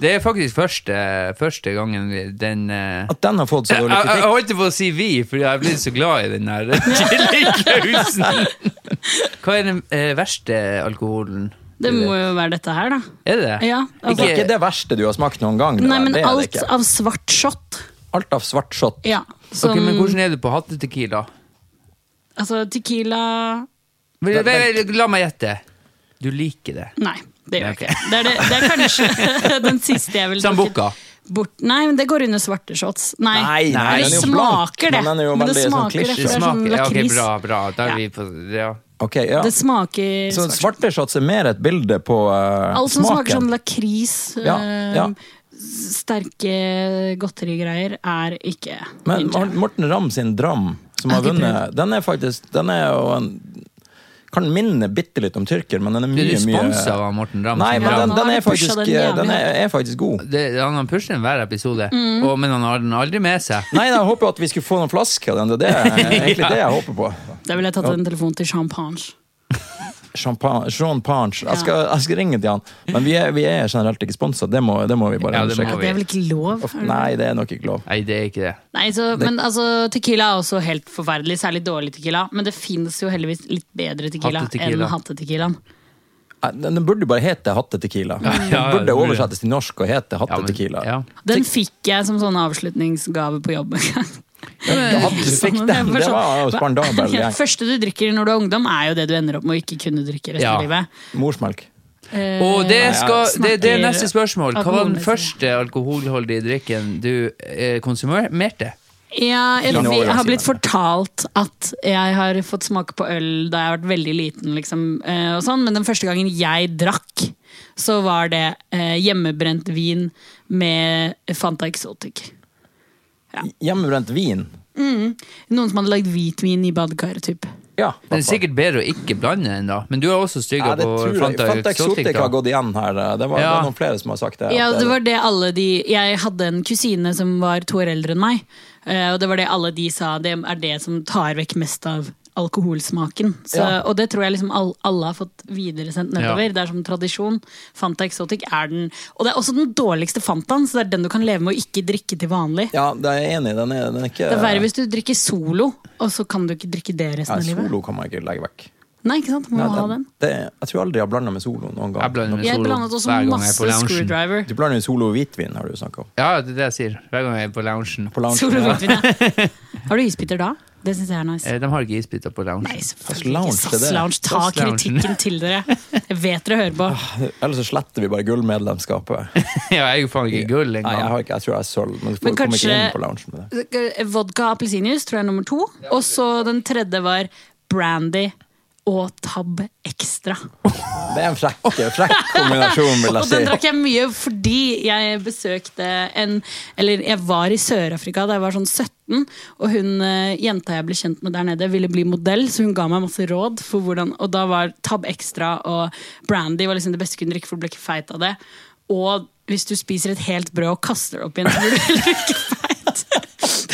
B: Det er faktisk første, første gangen vi- den eh,
C: At den har fått så
B: jeg,
C: dårlig
B: jeg, jeg
C: kritikk.
B: holdt på å si vi, fordi jeg er blitt så glad i den her kyllingkausen. Hva er den eh, verste alkoholen?
A: Det må jo være dette her, da.
B: Er det det?
A: Ja,
C: Det
A: altså.
C: er ikke det verste du har smakt noen gang. det
A: Nei,
C: der.
A: men
C: det er det
A: alt
C: ikke.
A: av svart shot.
C: Alt av svart shot.
A: Ja, som
B: Ok, men hvordan er du på hattetequila?
A: Altså tequila
B: Vel, vel, vel, La meg gjette. Du liker det.
A: Nei, det gjør jeg
B: Ok.
A: ikke. Det er, det, det er kanskje den siste jeg vil
B: Sambuca.
A: bort. Nei, men det går under svarte shots. Nei,
C: Nei, nei,
A: Eller
C: den er jo blank,
A: smaker det.
C: men den er jo
A: Men det
C: veldig sånn
A: smaker det, for
C: klisjé.
A: det er
B: Det
A: sånn
B: smaker ja, ok,
A: lakris.
B: Bra, bra. Da er
A: Ja.
B: vi på ja.
C: Ok, ja.
A: Det smaker
C: Så
A: svart.
C: svarte shots er mer et bilde på eh,
A: Alt som smaker sånn
C: smaken.
A: lakris,
C: Ja,
A: eh,
C: ja.
A: sterke godterigreier, er ikke
C: Men
A: min jam.
C: Mar- Morten Ramm sin Dram, som har
A: Jeg har ikke
C: vunnet, den er faktisk Den er jo en kan minne bitte litt om tyrker, men den er
B: Du
C: mye,
B: er sponsa
C: mye
B: av Morten Ramm.
C: Nei,
B: sin
C: men
A: Ja,
B: Ramm.
C: den,
A: nå
C: den,
A: har
C: er
A: vi pushet
C: faktisk,
A: den
C: eh, den, er,
A: jævlig.
C: er faktisk god.
B: Det- Han har pusher den hver episode,
A: Mm.
B: og, men han har den aldri med seg.
C: Nei, jeg håper jo at vi skulle få noen flasker. av Den. Det er det, egentlig det jeg håper på.
A: Da ville jeg tatt en telefon til champagne.
C: Champagne, Sean Panch. Jeg skal, jeg skal ringe til han. Men vi er, vi er generelt ikke sponsa, det, må- det må vi bare
B: Ja, det må
A: Ja,
C: understreke.
A: det er vel ikke lov? er det det?
C: Nei, det er nok ikke lov.
B: Nei, det er ikke det.
A: Nei, så, men altså, Tequila er også helt forferdelig, særlig dårlig tequila. Men det fins jo heldigvis litt bedre tequila enn
B: Hattetequila.
A: hattetequilaen.
C: Nei, Den den burde jo bare hete Hattetequila.
B: Ja,
C: Den
B: ja, det
C: burde
B: burde.
C: oversettes til norsk og hete
B: Ja, men-
C: Hattetequila.
B: ja.
A: Den fikk jeg som sånn avslutningsgave på jobb. en gang.
C: Ja, du fikk
A: Sånn,
C: den.
A: jeg
C: Det var jo
A: sånn,
C: spandabel
A: Det
C: gjeng.
A: første du drikker når du er ungdom, er jo det du ender opp med å ikke kunne drikke resten
B: Ja.
A: av livet.
C: Morsmelk.
A: Eh,
B: Og det, skal, det, det er
A: snakker
B: neste spørsmål. Hva var den
A: alkoholmessig.
B: første alkoholholdige drikken du eh, konsumerte?
A: Ja, jeg,
C: Lange
A: jeg har
C: overgangsgivende.
A: blitt fortalt at jeg har fått smake på øl da jeg har vært veldig liten, liksom, eh, og sånn. men den første gangen jeg drakk, så var det eh, hjemmebrent vin med Fanta Exotic.
C: Hjemmebrent vin.
A: Noen som hadde lagd hvitvin i badekaret, typ.
C: Ja,
B: Det er
C: hvertfall.
B: sikkert bedre å ikke blande den, da. Men du er også
C: Ja,
B: stygga
C: det
B: på
C: tror jeg.
B: Fanta
C: Fanta Exotic har
B: Exotica.
C: gått igjen her. Det var, det
B: Ja.
C: er noen flere som har sagt det.
A: Ja,
C: at
A: det var det alle de Jeg hadde en kusine som var to år eldre enn meg, eh, og det var det alle de sa, det er det som tar vekk mest av alkoholsmaken. Så,
C: Ja.
A: Og det tror jeg liksom all, alle har fått videresendt nedover.
B: Ja.
A: Det er som tradisjon. Fanta Exotic er den Og det er også den dårligste Fantaen, så det er den du kan leve med å ikke drikke til vanlig.
C: ja, det er jeg enig i. Den er, den er ikke
A: Det er verre hvis du drikker Solo, og så kan du ikke drikke det resten
C: Nei,
A: av livet.
C: Solo kan man ikke legge vekk.
A: Nei, ikke sant? Må
C: Nei,
A: ha
C: den-
A: den.
C: Det, jeg tror aldri jeg har blanda med Solo noen gang.
B: Jeg blander med
A: Jeg
B: Solo
A: blandet også
B: hver gang jeg er på
A: masse
B: loungen.
A: screwdriver.
C: Du blander med Solo og hvitvin, har du snakka om.
B: Ja, det er det jeg sier. Hver gang jeg er på loungen.
C: På lounge.
A: Solo hvitvin, ja. Har du isbiter da? Det syns jeg er nice.
B: Eh, De har ikke isbiter på loungen.
A: Nei,
C: lounge,
A: selvfølgelig ikke.
C: det er det.
A: SAS Lounge, ta
B: SAS loungen.
A: kritikken til dere. Jeg vet dere hører på.
C: Ellers så sletter vi bare gullmedlemskapet.
B: ja, jeg er jo faen ikke gull
C: Nei, jeg,
B: engang.
C: har ikke, jeg tror jeg er sølv, men du
A: Men
C: får- kommer ikke
A: kanskje-
C: inn på loungen med det.
A: Vodka og appelsinjuice tror jeg er nummer to. Og så den tredje var brandy og Tab Extra.
C: Det er en frekk, frekk kombinasjon, vil
A: Og den
C: jeg si.
A: drakk jeg mye fordi jeg besøkte en Eller jeg var i Sør-Afrika da jeg var sånn 17, og hun eh, jenta jeg ble kjent med der nede, ville bli modell, så hun ga meg masse råd. For hvordan, og da var Tab Extra og Brandy var liksom det beste du kunne drikke, for du ble ikke feit av det. Og hvis du spiser et helt brød og kaster det opp igjen, så blir du heller ikke feit.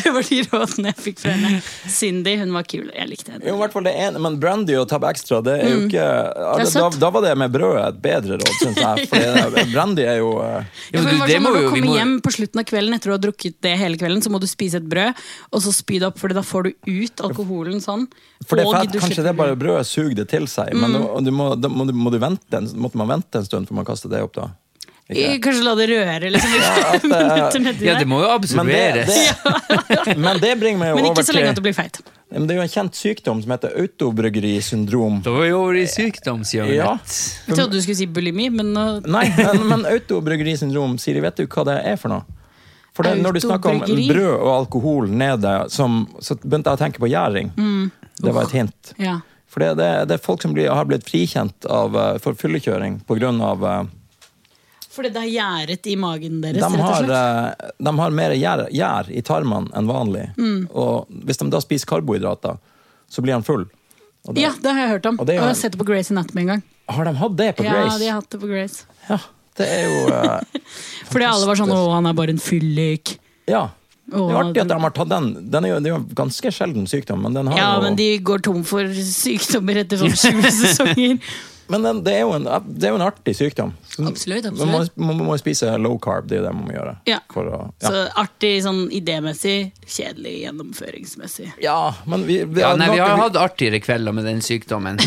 A: Det var de rådene jeg fikk fra henne. Cindy, hun var kul. Jeg likte henne.
C: Jo, i hvert fall det ene, Men Brandy og Tab Extra, det er jo ikke ja,
A: Mm. Det er
C: det, da,
A: søtt.
C: da var det med brødet et bedre råd, syns jeg. For det- Brandy er jo eh,
A: Ja, for
B: du,
A: det var
B: det
A: sånn,
B: må
A: når du
B: jo- vi
A: kommer
B: må-
A: hjem på slutten av kvelden etter du har drukket det hele kvelden, så må du spise et brød, og så spy det opp, for da får du ut alkoholen sånn.
C: For det er
A: og
C: fett,
A: du Mm.
C: Kanskje
A: slipper
C: det er bare brødet suger det til seg, men du, du må, da må, du, må du vente en, måtte man vente en stund før man kaster det opp, da?
A: Eh, Kanskje la det røre liksom, i
C: at eh, det er-
A: minutter nedi
B: Ja, det
A: der.
B: må jo
C: Men det,
B: absorberes.
C: det, men det bringer meg jo
A: Men
C: over
A: ikke så
C: til
A: lenge at du blir feit.
C: Men Det er jo en kjent sykdom som heter autobryggerisyndrom.
B: Da var vi over i sykdomshjørnet.
C: Ja.
A: Jeg trodde du skulle si bulimi, men nå
C: Nei, men, men autobryggerisyndrom, Siri, vet du hva det er for noe? For det, når du snakker om
A: Autobryggeri?
C: brød og alkohol nede, som, så begynte jeg å tenke på gjæring.
A: Mm.
C: Det var et hint.
A: ja.
C: For det, det, det er folk som blir, har blitt frikjent av, eh, for fyllekjøring pga. Uh,
A: Fordi det er gjæret i magen deres,
C: de,
A: rett og
C: har,
A: slett. Mm.
C: eh, de har mer gjær, gjær i tarmene enn vanlig. Og hvis de da spiser karbohydrater, så blir de full. Og det,
A: Ja, det har jeg hørt om.
C: eh, Og
A: Og
C: det er
A: jeg
C: jo-
A: har sett det på Grace Anatomy en gang.
C: Har de hatt det på
A: Ja,
C: Grace?
A: de har hatt det på Grace.
C: Ja, det er jo eh,
A: Fordi alle var sånn 'Å, han er bare en fyllik'.
C: Ja. Det er jo
A: Å,
C: artig at de har tatt den. Den er jo, det er jo en ganske sjelden sykdom, men den har
A: Ja,
C: jo
A: men de går tom for sykdommer etter sånn 20 sesonger.
C: Men den, det, er jo en, det er jo en artig sykdom.
A: Absolutt, absolutt.
C: Man må, man må spise low carb, det er jo det man må gjøre.
A: Ja.
C: For å, ja.
A: Så artig sånn idémessig, kjedelig gjennomføringsmessig.
C: ja, men vi, vi,
B: Ja, nei, vi har
C: noe-
B: hatt artigere kvelder med den sykdommen.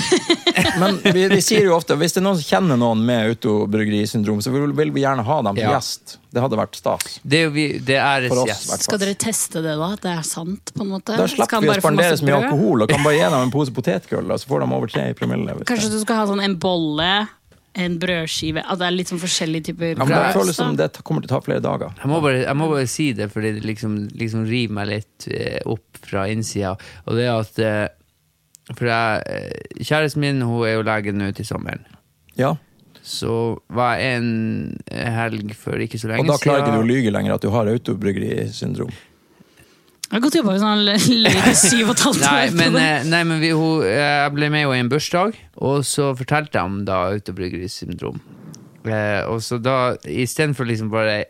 C: Men vi, vi sier jo ofte hvis det er noen som kjenner noen med autobryggerisyndrom, så vil, vil vi gjerne ha dem til
B: Ja.
C: gjest. Det hadde vært stas.
B: Det er jo vi- det æres
C: For oss,
B: gjest.
C: hvertfall.
A: Skal dere teste det, da? At det er sant? på en måte? Skal
C: Da slipper
A: han
C: vi å
A: bare få
C: spandere
A: masse
C: så mye
A: brød?
C: alkohol og kan bare gi dem en pose potetgull, og så får de over tre i promille. hvis
A: Kanskje
C: det-
A: du skal ha sånn en bolle, en brødskive At det er litt sånn forskjellige typer
C: ja, men det
A: brød,
C: føles som
B: liksom-
A: da.
C: det kommer til å ta flere dager.
B: Jeg må, bare, jeg må bare si det, fordi det liksom, liksom river meg litt eh, opp fra innsida. Og det er at eh, For jeg, eh, kjæresten min hun er jo lege nå til sommeren.
C: Ja,
B: Så var jeg en helg for ikke så lenge
C: Og da klarer ikke du å lyge lenger at du har autobryggerisyndrom.
A: Jeg har gått jobba hvis han løy i sånn syv og et halvt
B: Nei,
A: år. på
B: men,
A: det.
B: eh, nei, men vi, hun, jeg ble med henne i en bursdag, og så fortalte jeg om da autobryggerisyndrom. Eh, og så da, istedenfor liksom bare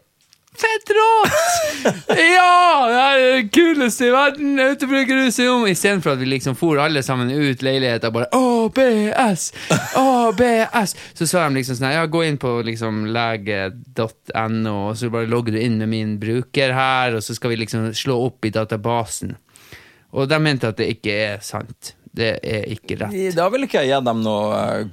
B: Fett rått! Ja! Det er det kuleste i verden! Autobryggerisyndrom! Istedenfor at vi liksom for alle sammen ut leiligheter bare ABS! ABS! Så sa de liksom sånn her, ja, gå inn på liksom lege.no, og så bare logger du inn med min bruker her, og så skal vi liksom slå opp i databasen. Og de mente at det ikke er sant. Det er ikke rett.
C: I- Da vil ikke jeg gi dem noe eh,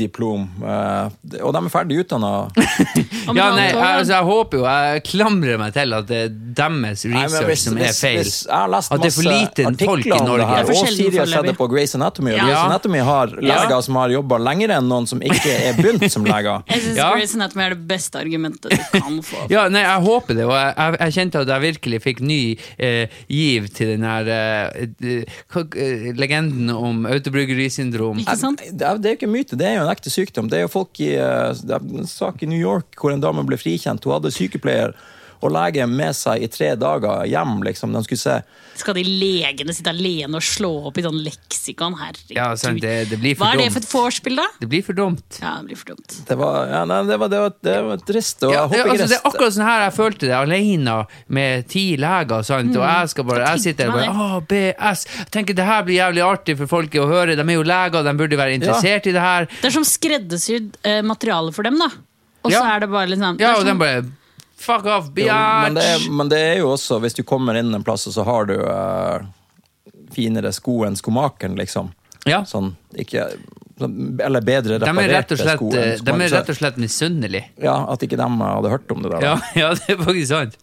C: diplom. eh, og de er ferdig utdanna.
A: Om
B: Ja,
A: et halvt
B: nei,
A: år,
B: jeg,
A: da.
B: altså, jeg håper jo, jeg klamrer meg til at det er deres research som er feil.
C: jeg har lest
B: at det er for
C: masse
B: lite folk
C: artikler
B: i
C: om det
B: Norge.
C: her,
A: Det er for
C: og
A: sjelden
C: Siri har sett
A: foreløpig.
C: det på Grace Anatomy. Og
A: Ja.
C: Grace Anatomy har leger som har jobba lenger enn noen som ikke er begynt som leger.
A: Jeg syns
B: Ja.
A: Grey's Anatomy er det beste argumentet du kan få.
B: Ja, nei, jeg håper det, og jeg, jeg, jeg kjente at jeg virkelig fikk ny eh, giv til den her eh, d- hva- eh, legenden om autobryggerisyndrom.
A: Ikke sant?
C: Det er, det er jo ikke en myte, det er jo en ekte sykdom. Det er jo folk i, eh, det er en sak i New York hvor en dame ble frikjent. Hun hadde sykepleier og lege med seg i tre dager hjem. liksom, De skulle se
A: Skal de legene sitte alene og slå opp i sånn leksikon? Herregud.
B: Ja, sant, det, det blir for
A: Hva er det for
B: dumt.
A: et vorspiel, da?
B: Det blir for dumt.
A: Ja, det blir for dumt.
C: Det var, ja, nei, det var, det var, det var trist. Og
B: Ja,
C: jeg håper
B: det,
C: ikke
B: altså, det er
C: det-
B: akkurat sånn her jeg følte det, alene med ti leger, sant?
C: Mm.
B: og jeg skal bare, jeg sitter der og bare ABS. Jeg tenker det her blir jævlig artig for folk å høre, de er jo leger, de burde være interessert i det her.
A: Det er som skreddersydd eh, materiale for dem, da. Og så
B: Ja.
A: er det bare litt sånn det
B: Ja,
A: er
B: og de
A: sånn-
B: bare Fuck off,
C: Jo, men, det er,
B: biatch!
C: men det er jo også, hvis du kommer inn en plass, og så har du eh, finere sko enn skomakeren, liksom.
B: Ja.
C: Sånn, ikke, sånn, eller bedre
B: De er rett
C: reparerte
B: og slett, eh,
C: sko enn
B: de er
C: skomakeren.
B: rett og slett misunnelige.
C: Ja, At ikke de hadde hørt om det der. da.
B: Ja, ja, det er faktisk sant.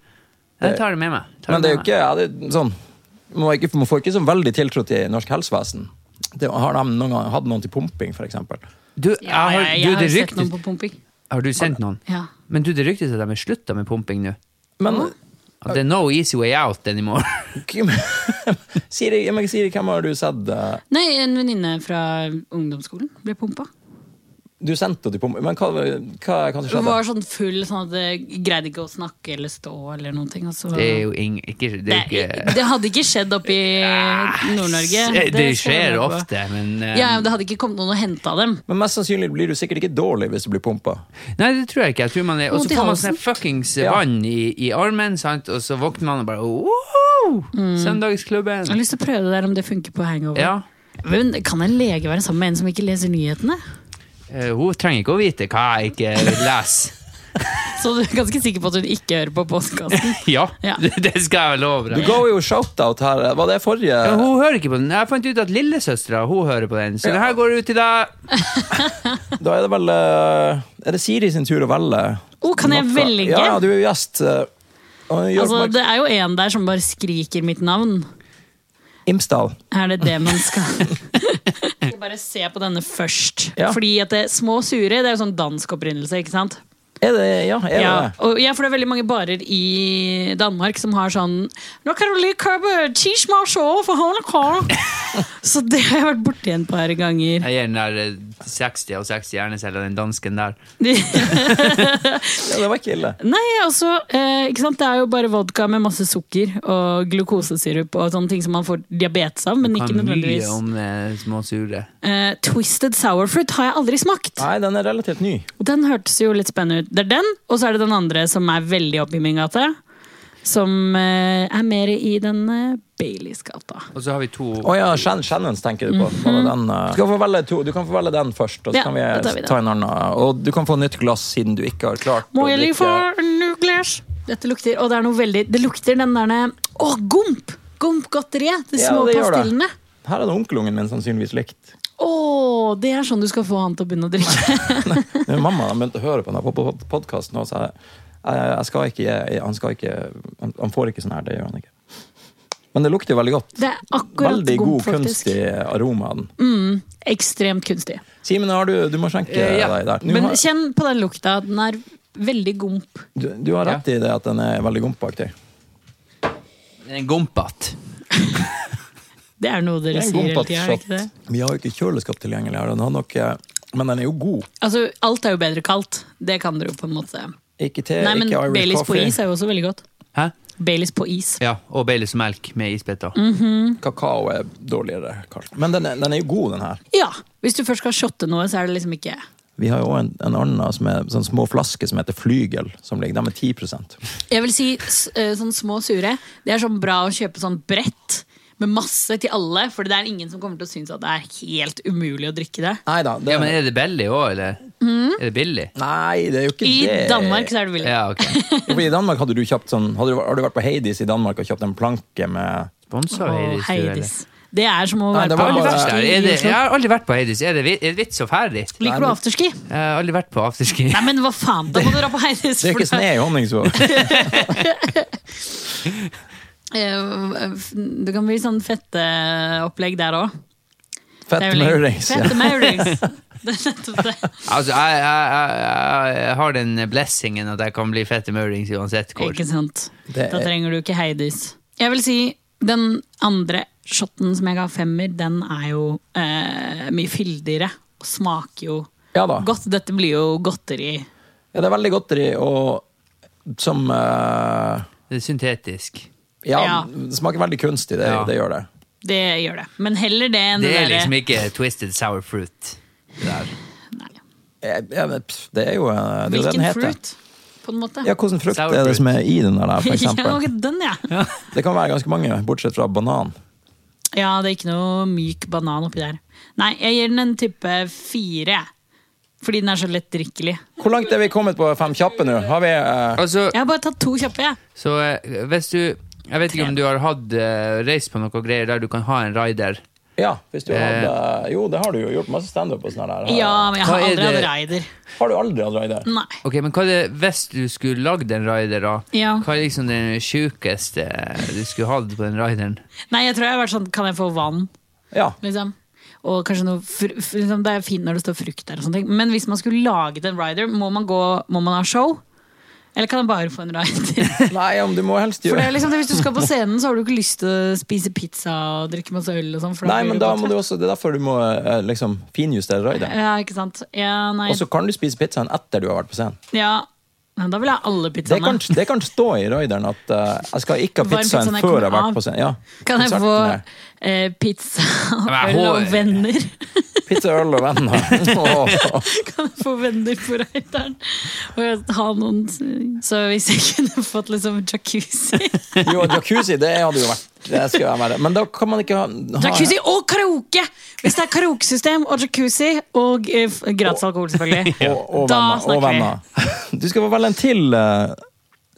B: Jeg tar det med meg. Tar
C: men det er jo
B: med
C: ikke ja, det, er sånn man, ikke, man får ikke så veldig tiltro til norsk helsevesen. Det, har de noen gang hatt noen til pumping, f.eks.?
B: meg. Du, jeg
A: Ja,
B: har,
A: jeg, jeg,
B: du,
A: har
B: det
A: jo sett noen
B: ryktes
A: på pumping.
B: Har du sendt noen?
A: Ja.
B: Men du, det ryktes at de har slutta med pumping nå.
C: Men
B: At det er no easy way out anymore.
C: Siri, ja, men Siri, hvem har du sett? eh,
A: Nei, en venninne fra ungdomsskolen ble pumpa.
C: Du sendte det på Men hva, hva kan
A: Hun
C: det skjedde?
A: var sånn full sånn at jeg greide ikke å snakke eller stå eller noen ting. og så-
B: Det er jo ing, ikke, det er jo
A: Nei,
B: ikke
A: det hadde ikke skjedd oppe i Nord-Norge.
B: Det,
A: skal jeg
B: skjer
A: være med på.
B: ofte, men eh,
A: Ja, men Det hadde ikke kommet noen og henta dem.
C: Men mest sannsynlig blir du sikkert ikke dårlig hvis du blir pumpa.
B: Nei, det tror jeg ikke. Jeg tror man er, og
A: Vondt
B: så
A: i
B: får man
A: halsen.
B: sånn fuckings
C: Ja.
B: vann i, i armen, sant? og så våkner man og bare wow!
A: Mm. Jeg har
B: Søndagsklubben.
A: lyst til å prøve det der om det funker på hangover.
B: Ja.
A: Men Kan en lege være sammen med en som ikke leser nyhetene?
B: Eh, hun trenger ikke å vite hva jeg ikke leser.
A: Så du er ganske sikker på at hun ikke hører på postkassen?
B: ja,
A: Ja.
B: det skal jeg love
C: Du
B: deg.
C: ga jo shout-out her. Var det forrige?
B: Ja, hun hører ikke på den. Jeg fant ut at lillesøstera hun hører på den, så det her går ut til deg.
C: Da er det vel eh, Er det Siri sin tur å velge?
A: Oh, kan jeg
C: noe?
A: velge?
C: Ja, du er jo gjest. eh, og gjør
A: Altså,
C: oppmerk-
A: Det er jo en der som bare skriker mitt navn.
C: Imsdal.
A: Er det det man skal Skal bare se på denne først.
C: Ja.
A: Fordi at det, Små sure det er jo sånn dansk opprinnelse, ikke sant?
C: Er det Ja, er
A: Ja,
C: det det?
A: og, ja, for det er veldig mange barer i Danmark som har sånn Nå kan du like købe ti små sjå for hånd og kår». Så det har jeg vært borti en par ganger.
B: Jeg gir den der eh, 60 og 60 hjerneceller, den dansken der.
C: Ja, det var ikke ille.
A: Nei, altså, eh, ikke sant? Det er jo bare vodka med masse sukker og glukosesirup og sånne ting som man får diabetes av, men ikke
B: Kan mye
A: nødvendigvis.
B: om eh, små sure.
A: Eh, Twisted sour fruit har jeg aldri smakt.
C: Nei, den er relativt ny.
A: Og Den hørtes jo litt spennende ut. Det er den, og så er det den andre som er veldig opp i min gate. Som eh, er mer i den eh, Baileys-gata.
B: Og så har vi to
C: Å ja, Shan- Shannons tenker du på.
A: Mhm.
C: Var det den, eh, du, kan få velge to, du kan få velge den først, og så
A: Ja,
C: kan
A: da tar vi
C: vi
A: den.
C: ta en annen. Og du kan få nytt glass siden du ikke har klart å
A: Miley
C: drikke.
A: for nuclears. Dette lukter, og det er noe veldig Det lukter den der Å, gomp! Gompgodteriet. De
C: Ja,
A: små
C: det gjør det.
A: pastillene.
C: Her er det onkelungen min sannsynligvis likt.
A: Å, det er sånn du skal få han til å begynne å drikke.
C: Når Mamma har begynt å høre på denne podkasten, og så er jeg, jeg, jeg skal ikke, jeg, han, skal ikke han, han får ikke sånn her, det gjør han ikke. Men det lukter jo veldig godt.
A: Det er akkurat
C: veldig god,
A: gomp, faktisk. Mm.
C: kunstig aroma. av den.
A: Ekstremt kunstig.
C: Simen, har du, du må skjenke
B: Eh, ja.
C: deg der. Du,
A: Men
C: har,
A: kjenn på den lukta. Den er veldig gomp.
C: du, du har rett i det at den er veldig gompaktig.
B: En gompete.
A: Det er noe dere
C: Det er en
A: sier hele
C: gompete
A: tida, er det
C: shot.
A: ikke det?
C: Vi har jo ikke kjøleskap tilgjengelig her, og den har nok, eh, men den er jo god.
A: Altså, alt er jo bedre kaldt. Det kan dere jo på en måte.
C: Ikke te,
A: Nei, men
C: Eh, ikke Irish
A: Baileys på
C: coffee.
A: is er jo også veldig godt.
B: Hæ?
A: Baileys på is.
B: Ja, og Baileys melk med isbiter.
A: Mm.
C: Kakao er dårligere kaldt. Men den er, den er jo god, den her.
A: Ja! Hvis du først skal shotte noe, så er det liksom ikke
C: Vi har jo også en, en annen som er sånn små flasker som heter Flygel, som ligger der med 10
A: Jeg vil si s- eh, sånn små sure. Det er sånn bra å kjøpe sånn brett med masse til alle, for det er ingen som kommer til å synes at det er helt umulig å drikke det.
C: Nei da. Det,
B: Ja, men er det billig òg, eller?
A: Mm.
B: Er det billig?
C: Nei, det er jo ikke
A: I
C: det.
A: Danmark så er det billig.
B: Ja, ok.
C: For I Danmark hadde du kjøpt sånn hadde du, Har du vært på Heidis i Danmark og kjøpt en planke med
B: Sponsa
A: Åh,
B: Heidis? du, eller?
A: Heidis. Det er som å
C: Nei,
A: være
C: det
A: på
C: var bare-
A: afterski
B: Der,
A: i
B: er det, jeg
A: Oslo.
B: har aldri vært på Heidis. Er det, vi- er det vits og ferdig?
A: Liker du afterski?
B: Jeg har aldri vært på afterski.
A: Nei, men hva faen, da må du dra på Heidis!
C: Det er
A: for
C: ikke sne i Honningsvåg.
A: Eh, f- Det kan bli sånn fetteopplegg der òg.
C: Fett maurings. Ja.
A: Fette maurings. Det er nettopp det.
B: Altså, jeg, jeg, jeg, jeg har den blessingen at jeg kan bli fette maurings uansett hvor.
A: Ikke sant.
C: Det
A: Da
C: er-
A: trenger du ikke Heidis. Jeg vil si den andre shotten som jeg ga femmer, den er jo eh, mye fyldigere. Og smaker jo
C: ja da.
A: godt. Dette blir jo godteri.
C: Ja, det er veldig godteri og som eh,
B: Det er syntetisk.
C: ja,
A: Ja.
C: det smaker veldig kunstig. Det,
B: Ja.
C: det gjør det.
A: Det gjør det. Men heller det enn
B: Det
A: det,
B: er
A: derre-
B: liksom ikke twisted sour fruit. det Der.
A: Nei.
C: Jeg, jeg, vet, pff, det er jo eh, det, er jo det
A: Hvilken
C: den heter.
A: fruit, på en måte.
C: Ja, Hvilken frukt
B: Sour
C: er det
B: fruit.
C: som er i den der, for
A: Ja,
C: eksempel?
A: ok, den, ja. ja.
C: Det kan være ganske mange, bortsett fra banan.
A: det er ikke noe myk banan oppi der. Nei, jeg gir den en type fire. Fordi den er så lettdrikkelig.
C: Hvor langt er vi kommet på fem kjappe nå? Har vi eh,
B: Altså,
A: Jeg har bare tatt to kjappe, jeg.
B: så eh, hvis du Jeg vet ikke om du har hatt eh, reist på noe greier der du kan ha en rider.
C: Ja, hvis du hadde eh, Jo, det har du jo gjort masse standup og sånn der. Har,
A: Eh. Ja, men jeg har
B: Hva er
A: aldri hatt
B: det-
A: raider.
C: har du aldri hatt raider?
A: Nei.
B: Ok, men hva er det, Hvis du skulle lagd en rider, da,
A: Ja.
B: hva er liksom det sjukeste du skulle hatt på den rideren?
A: Nei, jeg tror jeg har vært sånn Kan jeg få vann?
C: Ja.
A: Liksom. Og kanskje noe fr fr- liksom, Det er fint når det står frukt der, og sånne ting. men hvis man skulle laget en rider, må man, gå, må man ha show? Eller kan jeg bare få en ride?
C: Nei, ja, men du må helst
D: For det
C: gjøre
D: er liksom, det, Hvis du skal på scenen, så har du ikke lyst til å spise pizza og drikke masse øl. og sånn. for
C: Nei,
D: blir
C: men
D: du
C: da
D: bare
C: må du
D: trett.
C: også, det er derfor du må eh, liksom finjustere raidet.
A: Ja, ikke sant? Ja, nei.
C: Og så kan du spise pizzaen etter du har vært på scenen.
A: ja. Men da vil jeg ha alle
C: Det kan,
A: pizzaene.
C: det kan stå i raideren at eh, jeg skal ikke ha
A: Varm
C: pizzaen
A: pizzaen jeg
C: før
A: kommer
C: jeg har vært
A: av.
C: på scenen. Ja.
A: Kan jeg få
C: Konserten er
A: eh, pizza,
B: men jeg
A: øl og
B: hår-
A: venner?
C: Pizza, øl og venner. Åh.
A: Kan jeg få venner på Reiteren? Og jeg ha noen Så hvis jeg kunne fått liksom jacuzzi
C: Jo, jacuzzi, det hadde jo vært det skulle jeg være. Men da kan man ikke ha, ha
A: Jacuzzi og karaoke! Hvis det er karaokesystem og jacuzzi og eh, f- gratis alkohol, selvfølgelig.
C: Og, og
A: Da
C: venner. Og
A: snakker vi.
C: venner. Du skal få velge en til, eh,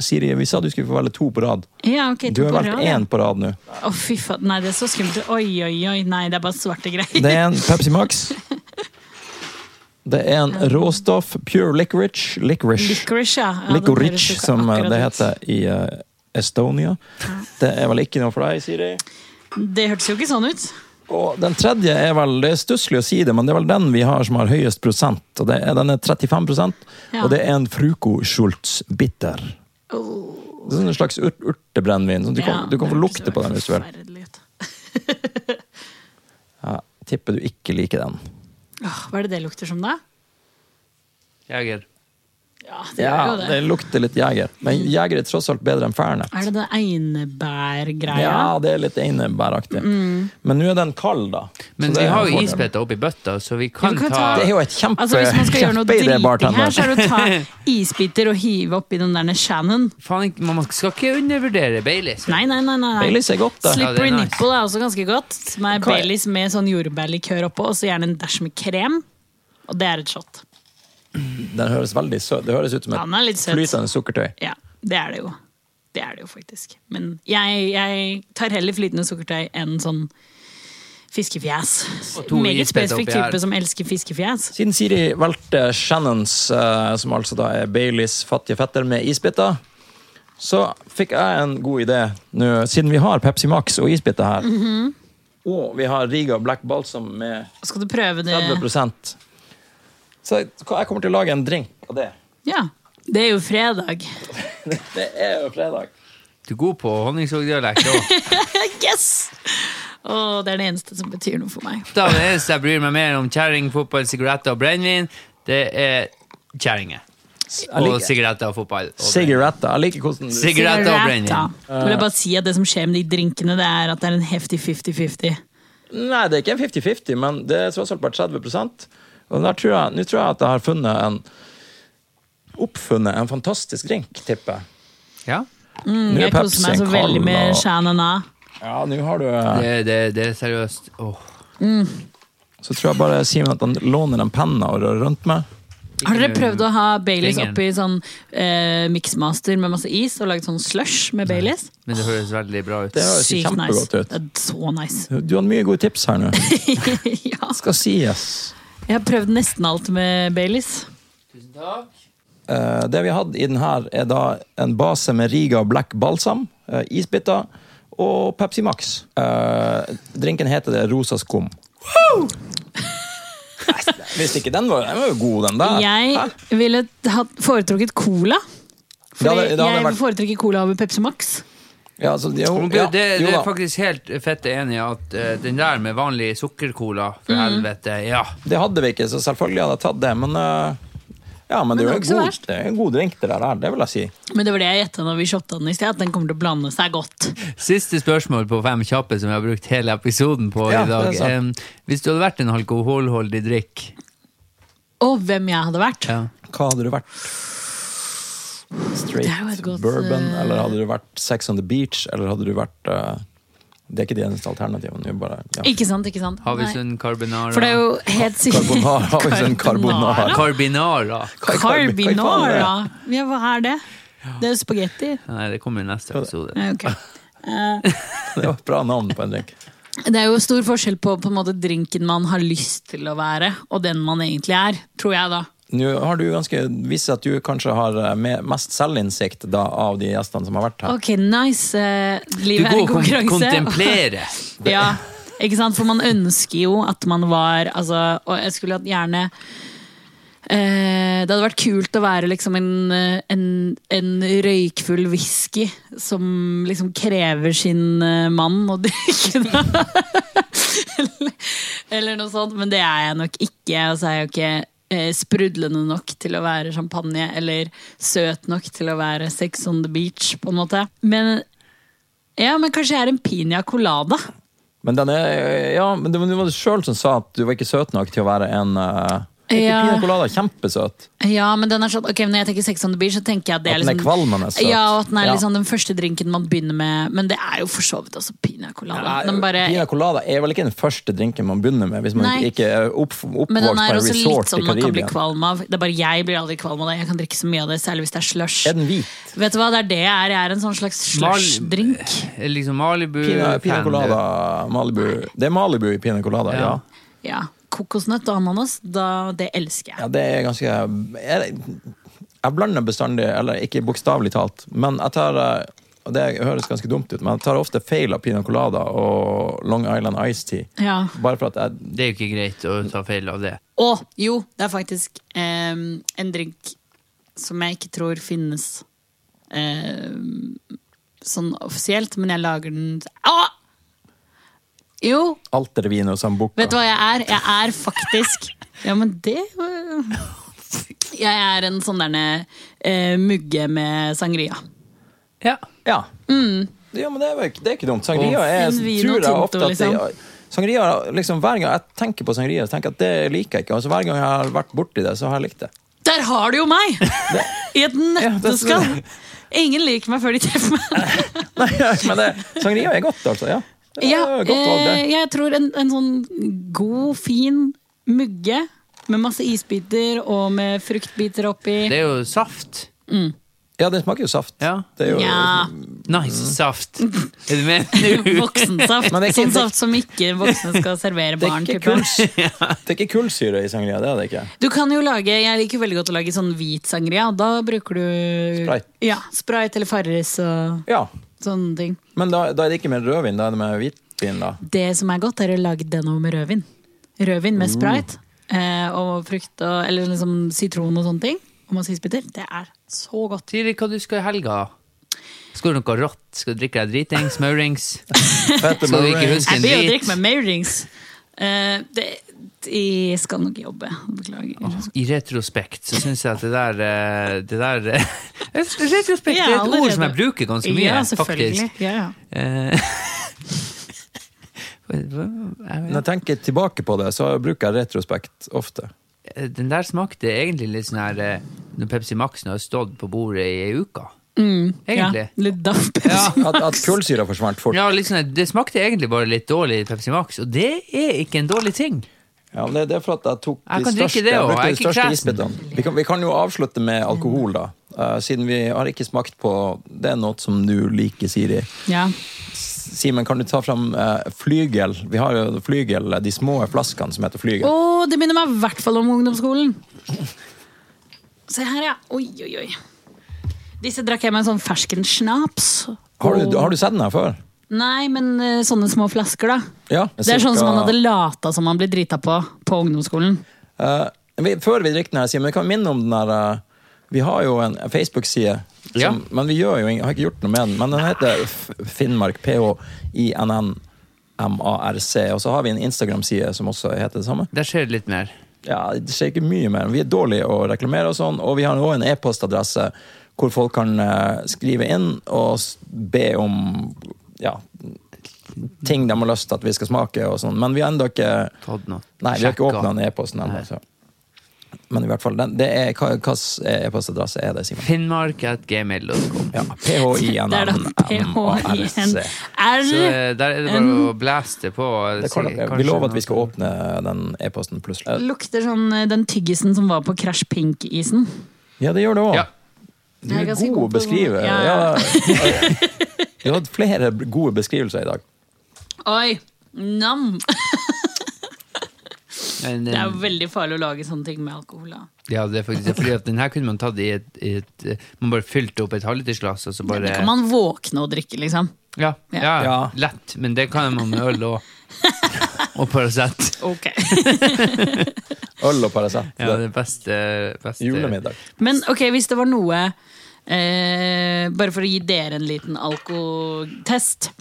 C: Siri. Vi sa du skulle få velge to på rad.
A: Ja, ok, to
C: Du har
A: på
C: valgt
A: rad, ja.
C: én på rad nå.
A: Å, fy faen. Nei, det er så skummelt. Oi, oi, oi. Nei, det er bare svarte greier.
C: Det er en Pepsi Max. Det er en råstoff Pure Licorice. Licorice.
A: Licorice, ja. ja. den høres jo
C: Licorice,
A: ikke
C: som eh,
A: akkurat
C: det
A: ut.
C: heter i eh, Estonia. Det er vel ikke noe for deg, Siri.
A: Det hørtes jo ikke sånn ut.
C: Og den tredje er vel Det er stusslig å si det, men det er vel den vi har som har høyest prosent. Og det er, den er 35
A: Ja.
C: og det er en Fruco Schultz Bitter. Det er sånn en slags ur urtebrennevin. Sånn, du, kan-
A: Ja,
C: du kan
A: det
C: få
A: hørtes
C: lukte
A: jo
C: på den hvis du vil.
A: forferdelig ut.
C: Ja, tipper du ikke liker den.
A: Åh, Hva er det det lukter som, da?
B: Jeger.
A: Ja, det gjør
C: Ja,
A: jo det.
C: Det lukter litt jeger, men jeger er tross alt bedre enn Fernet.
A: Er det den einebærgreia?
C: Ja, det er litt einebæraktig.
A: Mm.
C: Men nå er den kald, da. Så
B: Men
C: det
B: vi
C: er
B: har
C: en
B: jo
C: fordel.
B: isbiter oppi bøtta, så vi kan,
A: kan
B: ta,
A: ta-
C: Det er jo et kjempe,
A: Altså Hvis man skal gjøre noe
C: kjempeidé,
A: driting
C: bartender.
A: her, så er det å ta isbiter og hive oppi den der Shannon.
B: Faen, ikke- Man skal ikke undervurdere Baileys.
A: Nei, nei, nei. nei, nei.
C: Baileys er godt, det.
B: Ja, det
A: Slippery
B: er nice.
A: nipple er også ganske godt. Som er
C: Hva er-
A: Baileys med sånn jordbærlikør oppå, og så gjerne en dash med krem. Og det er et shot.
C: Den høres veldig søt Det høres ut som
A: Han er litt
C: et
A: søt.
C: flytende sukkertøy.
A: Ja, det er det jo. Det er det jo faktisk. Men jeg, jeg tar heller flytende sukkertøy enn sånn fiskefjes.
B: Og to
A: Meget
B: isbiter oppi
A: spesifikk
B: her.
A: type som elsker fiskefjes.
C: Siden Siri valgte Shannons, eh, som altså da er Baileys fattige fetter med isbiter, så fikk jeg en god idé nå, siden vi har Pepsi Max og isbiter her. Og vi har Riga Black Balsam med
A: Skal du prøve det?
C: 30 Så jeg jeg kommer til å lage en drink av det.
A: Ja. Det er jo fredag.
C: Det er jo fredag.
B: Du er god på honningsvågdialekt òg.
A: Yes! Å, det er det eneste som betyr noe for meg.
B: Det eneste jeg bryr meg mer om kjerring, fotball, sigaretter og brennevin, det er kjerringer.
C: Jeg
B: Og
C: liker
B: sigaretter og fotball. Og
C: Cigaretta. Jeg liker hvordan du
B: Sigaretter og
A: Rata.
B: brennevin.
A: Da vil jeg bare si at Det som skjer med de drinkene, det er at det er en heftig 50-50.
C: Nei, det er ikke en 50-50, men det er tross alt bare 30 Og der tror jeg, Nå tror jeg at jeg har funnet en oppfunnet en fantastisk drink, tipper jeg.
B: Ja,
A: Mm,
C: Nå er
A: Jeg koser meg
C: Pepsi
A: så
C: en
A: veldig
C: kald
A: med
C: og-
A: Shannon A.
C: Ja, nå har du eh,
B: det, det, det er seriøst. Åh.
C: Så tror jeg bare Simen at han låner en penne og rører rundt med.
A: Har dere prøvd å ha Baileys
B: Ingen.
A: oppi sånn eh, mixmaster med masse is, og laget sånn slush med Baileys?
B: Men det høres veldig bra ut.
C: Det høres jo
A: Sykt nice.
C: kjempegodt
A: Det
C: ut.
A: er så nice.
C: Du hadde mye gode tips her nå.
A: ja.
C: Skal sies.
A: Jeg har prøvd nesten alt med Baileys.
B: Tusen takk.
C: Eh, det vi hadde i den her, er da en base med Riga Black Balsam, eh, isbiter og Pepsi Max. Eh, drinken heter det Rosa skum. Nei, Hvis ikke den var, den var jo god, den der. Hæ?
A: Jeg ville ha foretrukket cola.
C: Det
A: Fordi
C: hadde- det hadde
A: jeg
C: vært-
A: foretrekker cola over Pepsi Max.
C: Ja, så, jo,
B: Om
C: ja,
B: Gud, det,
C: jo
B: det
C: da.
B: er faktisk helt fett enig i at eh, den der med vanlig sukkercola, for
C: Mm.
B: helvete, ja.
C: Det hadde vi ikke, så selvfølgelig hadde jeg tatt det. Men, eh, ja, men,
A: det
C: det, er
A: var
C: jo
A: ikke
C: en
A: så
C: god,
A: verst.
C: det er en god drink, det der. er, Det vil jeg si.
A: Men det var det jeg gjetta da vi shotta den i sted, at den kommer til å blande seg godt.
B: Siste spørsmål på fem kjappe som jeg har brukt hele episoden på
C: Ja,
B: i dag.
C: det er sant.
B: Eh, hvis du hadde vært en alkoholholdig drikk,
A: Og hvem jeg hadde vært.
B: ja.
C: Hva hadde du vært?
A: Det er jo et
C: Straight
A: godt,
C: bourbon,
A: eh,
C: eller hadde du vært Sex on the Beach, eller hadde du vært eh, Det er ikke de eneste alternativene. det er Bare, ja.
A: Ikke sant, ikke sant. Nei.
B: Havøysund carbonara.
A: For det er jo helt sikkert
C: sånn- Carbonara, Havøysund carbonara.
B: Carbinara.
C: Hva- hva- hva i faen er det?
A: Carbinara! Ja, hva er det? Det er jo spagetti.
B: Nei, det kommer i neste episode.
A: Ja, ok. Eh,
C: Det var et bra navn på en drink.
A: Det er jo stor forskjell på, på en måte, drinken man har lyst til å være, og den man egentlig er. Tror jeg, da.
C: Nå har du ganske vist at du kanskje har eh, me- mest selvinnsikt da, av de gjestene som har vært her.
A: Ok, nice. eh,
B: Du
A: Livet er
B: går
A: en
B: og kon-
A: konkurranse.
B: kontemplerer.
A: Ja, ikke sant? For man ønsker jo at man var altså, Og jeg skulle hatt gjerne eh, Eh, Det hadde vært kult å være liksom en, eh, en, en røykfull whisky som liksom krever sin eh, mann å drikke. den. eller, eller noe sånt, men det er jeg nok ikke. Og så er jeg jo ikke eh, sprudlende nok til å være champagne, eller søt nok til å være sex on the beach, på en måte. Men, ja, men kanskje jeg er en piña colada.
C: Men, den er, eh, ja, men det var- det var du sjøl som sa at du var ikke søt nok til å være en uh,
A: Ja.
C: Piña colada er kjempesøt.
A: Ja, men den er sånn, ok, når jeg tenker Sex on the Beach, så tenker jeg at det
C: At
A: er
C: den er
A: liksom
C: kvalmende søt.
A: Ja, og at den er
C: Ja.
A: liksom den første drinken man begynner med. Men det er jo for så vidt også piña colada. Den bare,
C: Piña colada er vel ikke den første drinken man begynner med, hvis man
A: Nei.
C: ikke er opp, oppvokst
A: men den
C: på
A: er
C: en
A: også
C: resort
A: litt
C: i
A: sånn man kan bli
C: Karibia.
A: kvalm av. Det er bare Jeg blir aldri kvalm av det. Jeg kan drikke så mye av det, særlig hvis det er slush.
C: Er den hvit?
A: Vet du hva, det er det jeg er. Jeg er en sånn slags slush-drink.
B: Liksom Malibu eh,
C: Pina,
B: fan,
C: pina
B: du.
C: colada, Malibu. Det er Malibu i pina colada, ja.
B: Ja.
A: Ja. Kokosnøtt og ananas, da, det elsker jeg.
C: Ja, det er ganske Jeg, jeg blander bestandig, eller ikke bokstavelig talt, men jeg tar eh, og Det høres ganske dumt ut, men jeg tar ofte feil av Pina Colada og Long Island Ice Tea.
A: Ja.
C: Bare for at jeg
B: Det er jo ikke greit å ta feil av det.
A: Å, jo, det er faktisk eh, en drink som jeg ikke tror finnes eh, sånn offisielt, men jeg lager den ah! Jo,
C: Altervino Sambuca
A: vet du hva jeg er? Jeg er faktisk Ja, men det var- Jeg er en sånn derne eh, mugge med sangria.
B: Ja.
C: Ja. ja, men det er, jo ikke- det er ikke dumt. Sangria
B: Og
C: er
A: fin vin
C: tror
A: Mm. og
C: jeg
A: tinto,
C: ofte at det,
A: liksom.
C: Sangria, liksom Hver gang jeg tenker på sangria, så tenker jeg at det liker jeg ikke. Altså, hver gang jeg har vært borti det, så har jeg likt det.
A: Der har du jo meg! I et nøtteskall.
C: det-
A: Ingen liker meg før de treffer meg.
C: Nei, men det, sangria er godt, altså. Ja. Det er
A: Ja,
C: godt valg, det.
A: eh, jeg tror en, en sånn god, fin mugge med masse isbiter og med fruktbiter oppi.
B: Det er jo saft.
C: Ja, den smaker jo saft.
B: Ja.
C: Det er jo,
A: Ja,
B: Nice
C: Mm.
B: saft. Er du med nå?
A: voksensaft.
C: Men det er ikke-
A: sånn saft som ikke voksne skal servere
C: Det
A: barn.
C: er ikke
A: type.
C: kuls- det er ikke kullsyre i sangria, det er det ikke.
A: Du kan jo lage, Jeg liker jo veldig godt å lage sånn hvit sangria. og Da bruker du
C: Sprite.
A: Ja, Sprite eller Farris og
C: Ja,
A: sånne ting.
C: Men da, da er det ikke med rødvin, da er det med hvitvin, da.
A: Det som er godt, er å lage den over med rødvin. Rødvin
C: Mm.
A: med sprite eh, og frukt og eller liksom sitron og sånne ting. Og masse isbiter. Det er så godt.
B: Siri, hva du skal i helga? Skal du noe rått? Skal du drikke deg dritings? Maurings?
C: Fette
B: Skal vi ikke
C: meringue.
B: huske-
A: Jeg
B: en
A: blir
B: drit.
A: å drikke med Mayrings. Eh, det- de skal nok jobbe. Beklager.
B: I retrospekt så syns jeg at det der eh, Det der eh, Retrospekt
A: Ja,
B: er et ord
A: allerede.
B: som jeg bruker ganske mye,
A: Ja, selvfølgelig.
B: faktisk.
A: Ja, ja.
B: Eh, hva-
C: Når jeg tenker tilbake på det, så bruker jeg retrospekt ofte.
B: Den der smakte egentlig litt sånn her eh, Når Pepsi Maxen har stått på bordet i ei uke. Mm, Egentlig.
A: Ja, litt daff Pepsi
B: Ja.
A: Max.
C: At, at kullsyra forsvant fort.
B: Ja, litt sånn, her, det smakte egentlig bare litt dårlig Pepsi Max, og det er ikke en dårlig ting.
C: Ja, men det, det er for at jeg tok de
B: Jeg kan drikke
C: største,
B: det
C: jeg
B: også,
C: brukte
B: jeg
C: de
B: er ikke
C: største
B: kresen.
C: isbitene. Vi kan, vi kan jo avslutte med alkohol, da. Eh, siden vi har ikke smakt på Det er noe som du liker, Siri.
A: Ja.
C: Simen, kan du ta fram eh, flygel? Vi har jo flygel, de små flaskene som heter flygel.
A: Å, det minner meg i hvert fall om ungdomsskolen. Se her, ja. Oi, oi, oi. Disse drakk jeg med en sånn fersken snaps.
C: Har du, har du sett den her før?
A: Nei, men eh, sånne små flasker, da.
C: Ja.
A: Det er sånn som man hadde lata som man ble drita på på ungdomsskolen.
C: Eh, vi, før vi drikker den her, Simen, vi kan minne om den her eh, Vi har jo en Facebook-side, som-
B: Ja.
C: men vi gjør jo, ing- har ikke gjort noe med den. Men den heter F- Finnmark, P-H-I-N-N-M-A-R-C. Og så har vi en Instagram-side som også heter det samme.
B: Der skjer det litt mer.
C: Ja, Det skjer ikke mye mer. Vi er dårlige å reklamere, og sånn, og vi har også en e-postadresse hvor folk kan eh, skrive inn og s- be om ja, ting de har lyst til at vi skal smake. og sånn. Men vi har ennå ikke
B: Tatt noe.
C: Nei, vi har ikke
B: Sjekka.
C: åpna en e-post ennå.
B: Nei.
C: så. Men i hvert fall, den, det er, hva hvilken e-postadresse er det, Simen?
B: Finnmark at gmail.com.
C: Ja, mm,
A: Det er da
C: E.
A: E.
C: P-H-I-N-N-M-A-R-C.
B: Så
A: PHIN-R.
B: eh, der er det bare å blaste på. eh,
C: Det kan-
B: se-
C: Vi
B: kanskje
C: lover at vi
B: noe-
C: skal åpne den e-posten plutselig.
A: Lukter sånn eh, den tyggisen som var på Crash Pink-isen.
C: Ja, det gjør det
B: Ja.
C: òg. Du
A: Jeg er
C: er
A: ganske
C: god å
A: god på
C: beskrive.
A: sånn.
C: Ja.
A: Ja.
C: Du har hatt flere gode beskrivelser i dag.
A: Oi! Nam!
B: Men,
A: Det
B: eh,
A: er
C: Mm.
A: jo veldig farlig å lage sånne ting med alkohol. da.
B: Ja, det er faktisk det, fordi at den her kunne man tatt i et, i et eh, Man bare fylte opp et halvlitersglass, og så bare
A: Det kan man våkne og drikke, liksom.
B: Ja, ja, ja.
C: Ja.
B: lett, men det kan man med øl og, og Paracet.
A: Ok.
C: Øl og Paracet.
B: Ja,
C: det
B: det beste, beste
C: er Julemiddag.
A: Men ok, hvis det var noe eh, Bare for å gi dere en liten alkotest.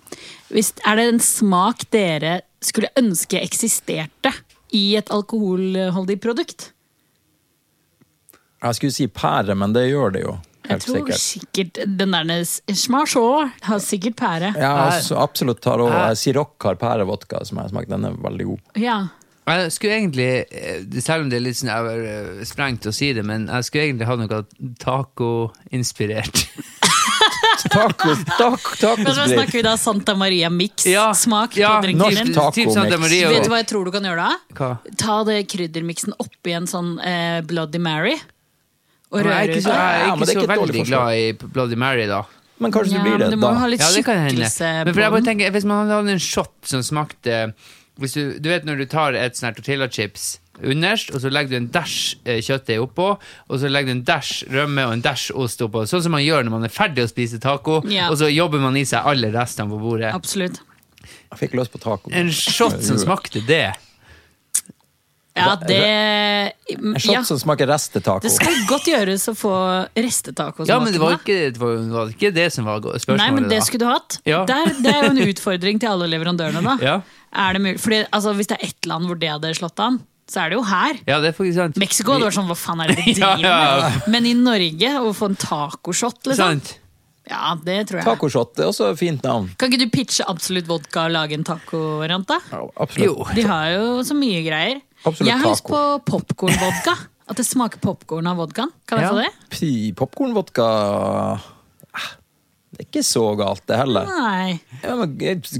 A: Hvis, er det en smak dere skulle ønske eksisterte i et alkoholholdig produkt?
C: Jeg skulle si pære, men det gjør det jo.
A: Jeg
C: Helt
A: tror sikkert,
C: sikkert.
A: den der nes- smarså har sikkert pære. Ja.
C: Ja, altså, absolutt tar også.
B: Her.
C: Jeg sier Rock har pærevodka, som jeg har smakt. Den er veldig god.
B: Jeg skulle egentlig, eh, selv om det er litt sånn jeg var, eh, sprengt å si det, men jeg skulle egentlig ha noe taco-inspirert.
C: Taco, taco,
A: Men så
C: tacosgrill.
A: snakker vi da Santa Maria Mix smak på
B: ja,
A: drinken
C: norsk
A: din.
C: taco
B: Typ Santa
C: mix.
B: Maria.
A: Vet du hva jeg tror du kan gjøre da?
B: Hva?
A: Ta det kryddermiksen oppi en sånn eh, Bloody Mary. Og
B: Men jeg
A: røre
B: er ikke
A: ut.
B: så, jeg er
C: Ja,
B: ikke
C: men det er
B: så
C: ikke et dårlig
B: veldig
C: forslag.
B: glad i Bloody Mary, da.
C: Men kanskje
A: Ja,
C: det blir
A: men
C: det,
A: du må
C: da.
A: jo ha litt
B: Ja, det kan hende.
A: skikkelse
B: Men for jeg
A: på
B: bare
A: den.
B: tenker, Hvis man hadde en shot som smakte hvis du, du vet når du tar et sånn her tortillachips underst, og så legger du en dash eh, kjøttdeig oppå, og så legger du en dash rømme og en dash ost oppå, sånn som man gjør når man er ferdig å spise taco,
A: Ja.
B: og så jobber man i seg alle restene på bordet.
A: Absolutt.
C: Jeg fikk lyst på taco.
B: En shot som smakte det.
A: Ja, det
C: En shot
A: ja,
C: som smaker restetaco.
A: Det skal godt gjøres å få restetaco.
B: Ja, men det var ikke det, var, var ikke det som var go- spørsmålet,
A: Nei, men det skulle du hatt.
B: Ja.
A: Der, det er jo en utfordring til alle leverandørene, da.
B: da. Ja.
A: Er det mulig? Fordi, altså, hvis det er ett land hvor det hadde slått an, så er det jo her.
B: ja, det er faktisk sant.
A: Mexico hadde vært sånn, hva faen er det de
B: Ja,
A: driver
B: ja.
A: med? Men i Norge, å få en tacoshot, liksom.
B: Sant.
A: Ja, det tror jeg.
C: Tacoshot det er også et fint navn.
A: Kan ikke du pitche Absolutt Vodka og lage en taco-variant, da?
C: Absolutt.
B: Jo.
A: De har jo så mye greier.
C: Absolutt
A: jeg har lyst
C: taco.
A: på popkornvodka. At det smaker popkorn av vodkaen. Kan jeg
B: Ja.
A: få det?
C: Pi- Popcornvodka eh, Det er ikke så galt, det heller.
A: Nei.
C: Ja, men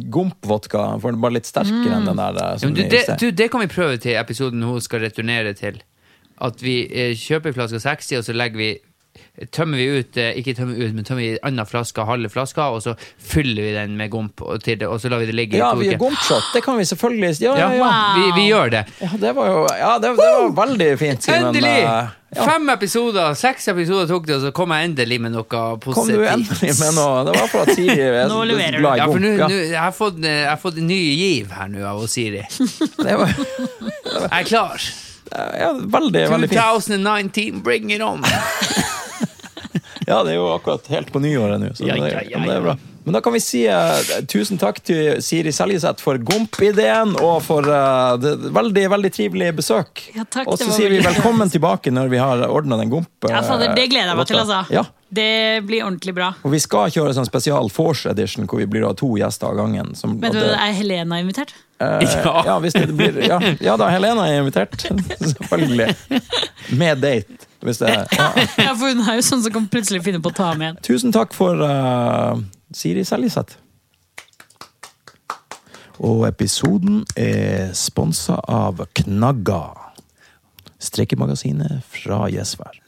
C: Gompvodka får det bare litt sterkere enn den der. eh,
B: Ja,
C: Som
B: men du,
C: vi-
B: det, du, det kan vi prøve til episoden hun skal returnere til. At vi eh, kjøper flaska 60, og så legger vi Tømmer vi ut eh, ikke tømmer ut, men tømmer vi anna flaska, halve flaska, og så fyller vi den med gomp, og, til det, og så lar vi det ligge
C: ja,
B: i to
C: vi gjør
B: uker.
C: gompshot. Det kan vi selvfølgelig. Ja, ja,
B: Ja,
C: ja.
A: Wow.
B: vi, vi gjør det.
C: ja det var jo ja, det, det var veldig fint. Simen.
B: Endelig!
C: Eh, Ja,
B: Fem episoder, seks episoder tok det, og så kom jeg endelig med noe
C: kom du endelig
B: positivt.
C: med noe? Det var fra tidlig. Jeg er
A: Nå leverer du.
C: glad i
B: Ja, for
C: gomp,
B: nå
C: ja.
B: nå- jeg har fått, eh, jeg har fått ny giv her nå av Siri. Jeg
C: Det var
B: er klar.
C: ja, veldig, veldig fint.
B: 2019, bring it on!
C: Ja, det er jo akkurat helt på nyåret nå. Så
B: Ja,
C: det,
B: ja, ja,
C: det
B: ja.
C: er bra. Men da kan vi si eh, tusen takk til Siri Seljeseth for Gomp-ideen og for eh, det veldig veldig trivelig besøk.
A: Ja, takk,
C: og
A: det
C: så
A: var
C: sier vi
A: veldig trivelig.
C: velkommen tilbake når vi har ordna den Gomp. eh,
A: Ja, fader, det gleder jeg meg til,
C: låta.
A: altså.
C: Ja.
A: Det blir ordentlig bra.
C: Og vi skal kjøre sånn spesial Force Edition hvor vi blir da to gjester av gangen. Som,
A: Vet du
C: og
A: hva,
C: det-
A: er Helena invitert?
C: eh,
B: Ja.
C: ja, hvis det blir, ja, ja da, Helena er invitert. Selvfølgelig. Med date, hvis det er ja.
A: Ja, for hun er jo sånn som kan plutselig finne på å ta med en.
C: Tusen takk for eh, Siri Seljeseth. Og episoden er sponsa av Knagga. Strekemagasinet fra Gjesvær.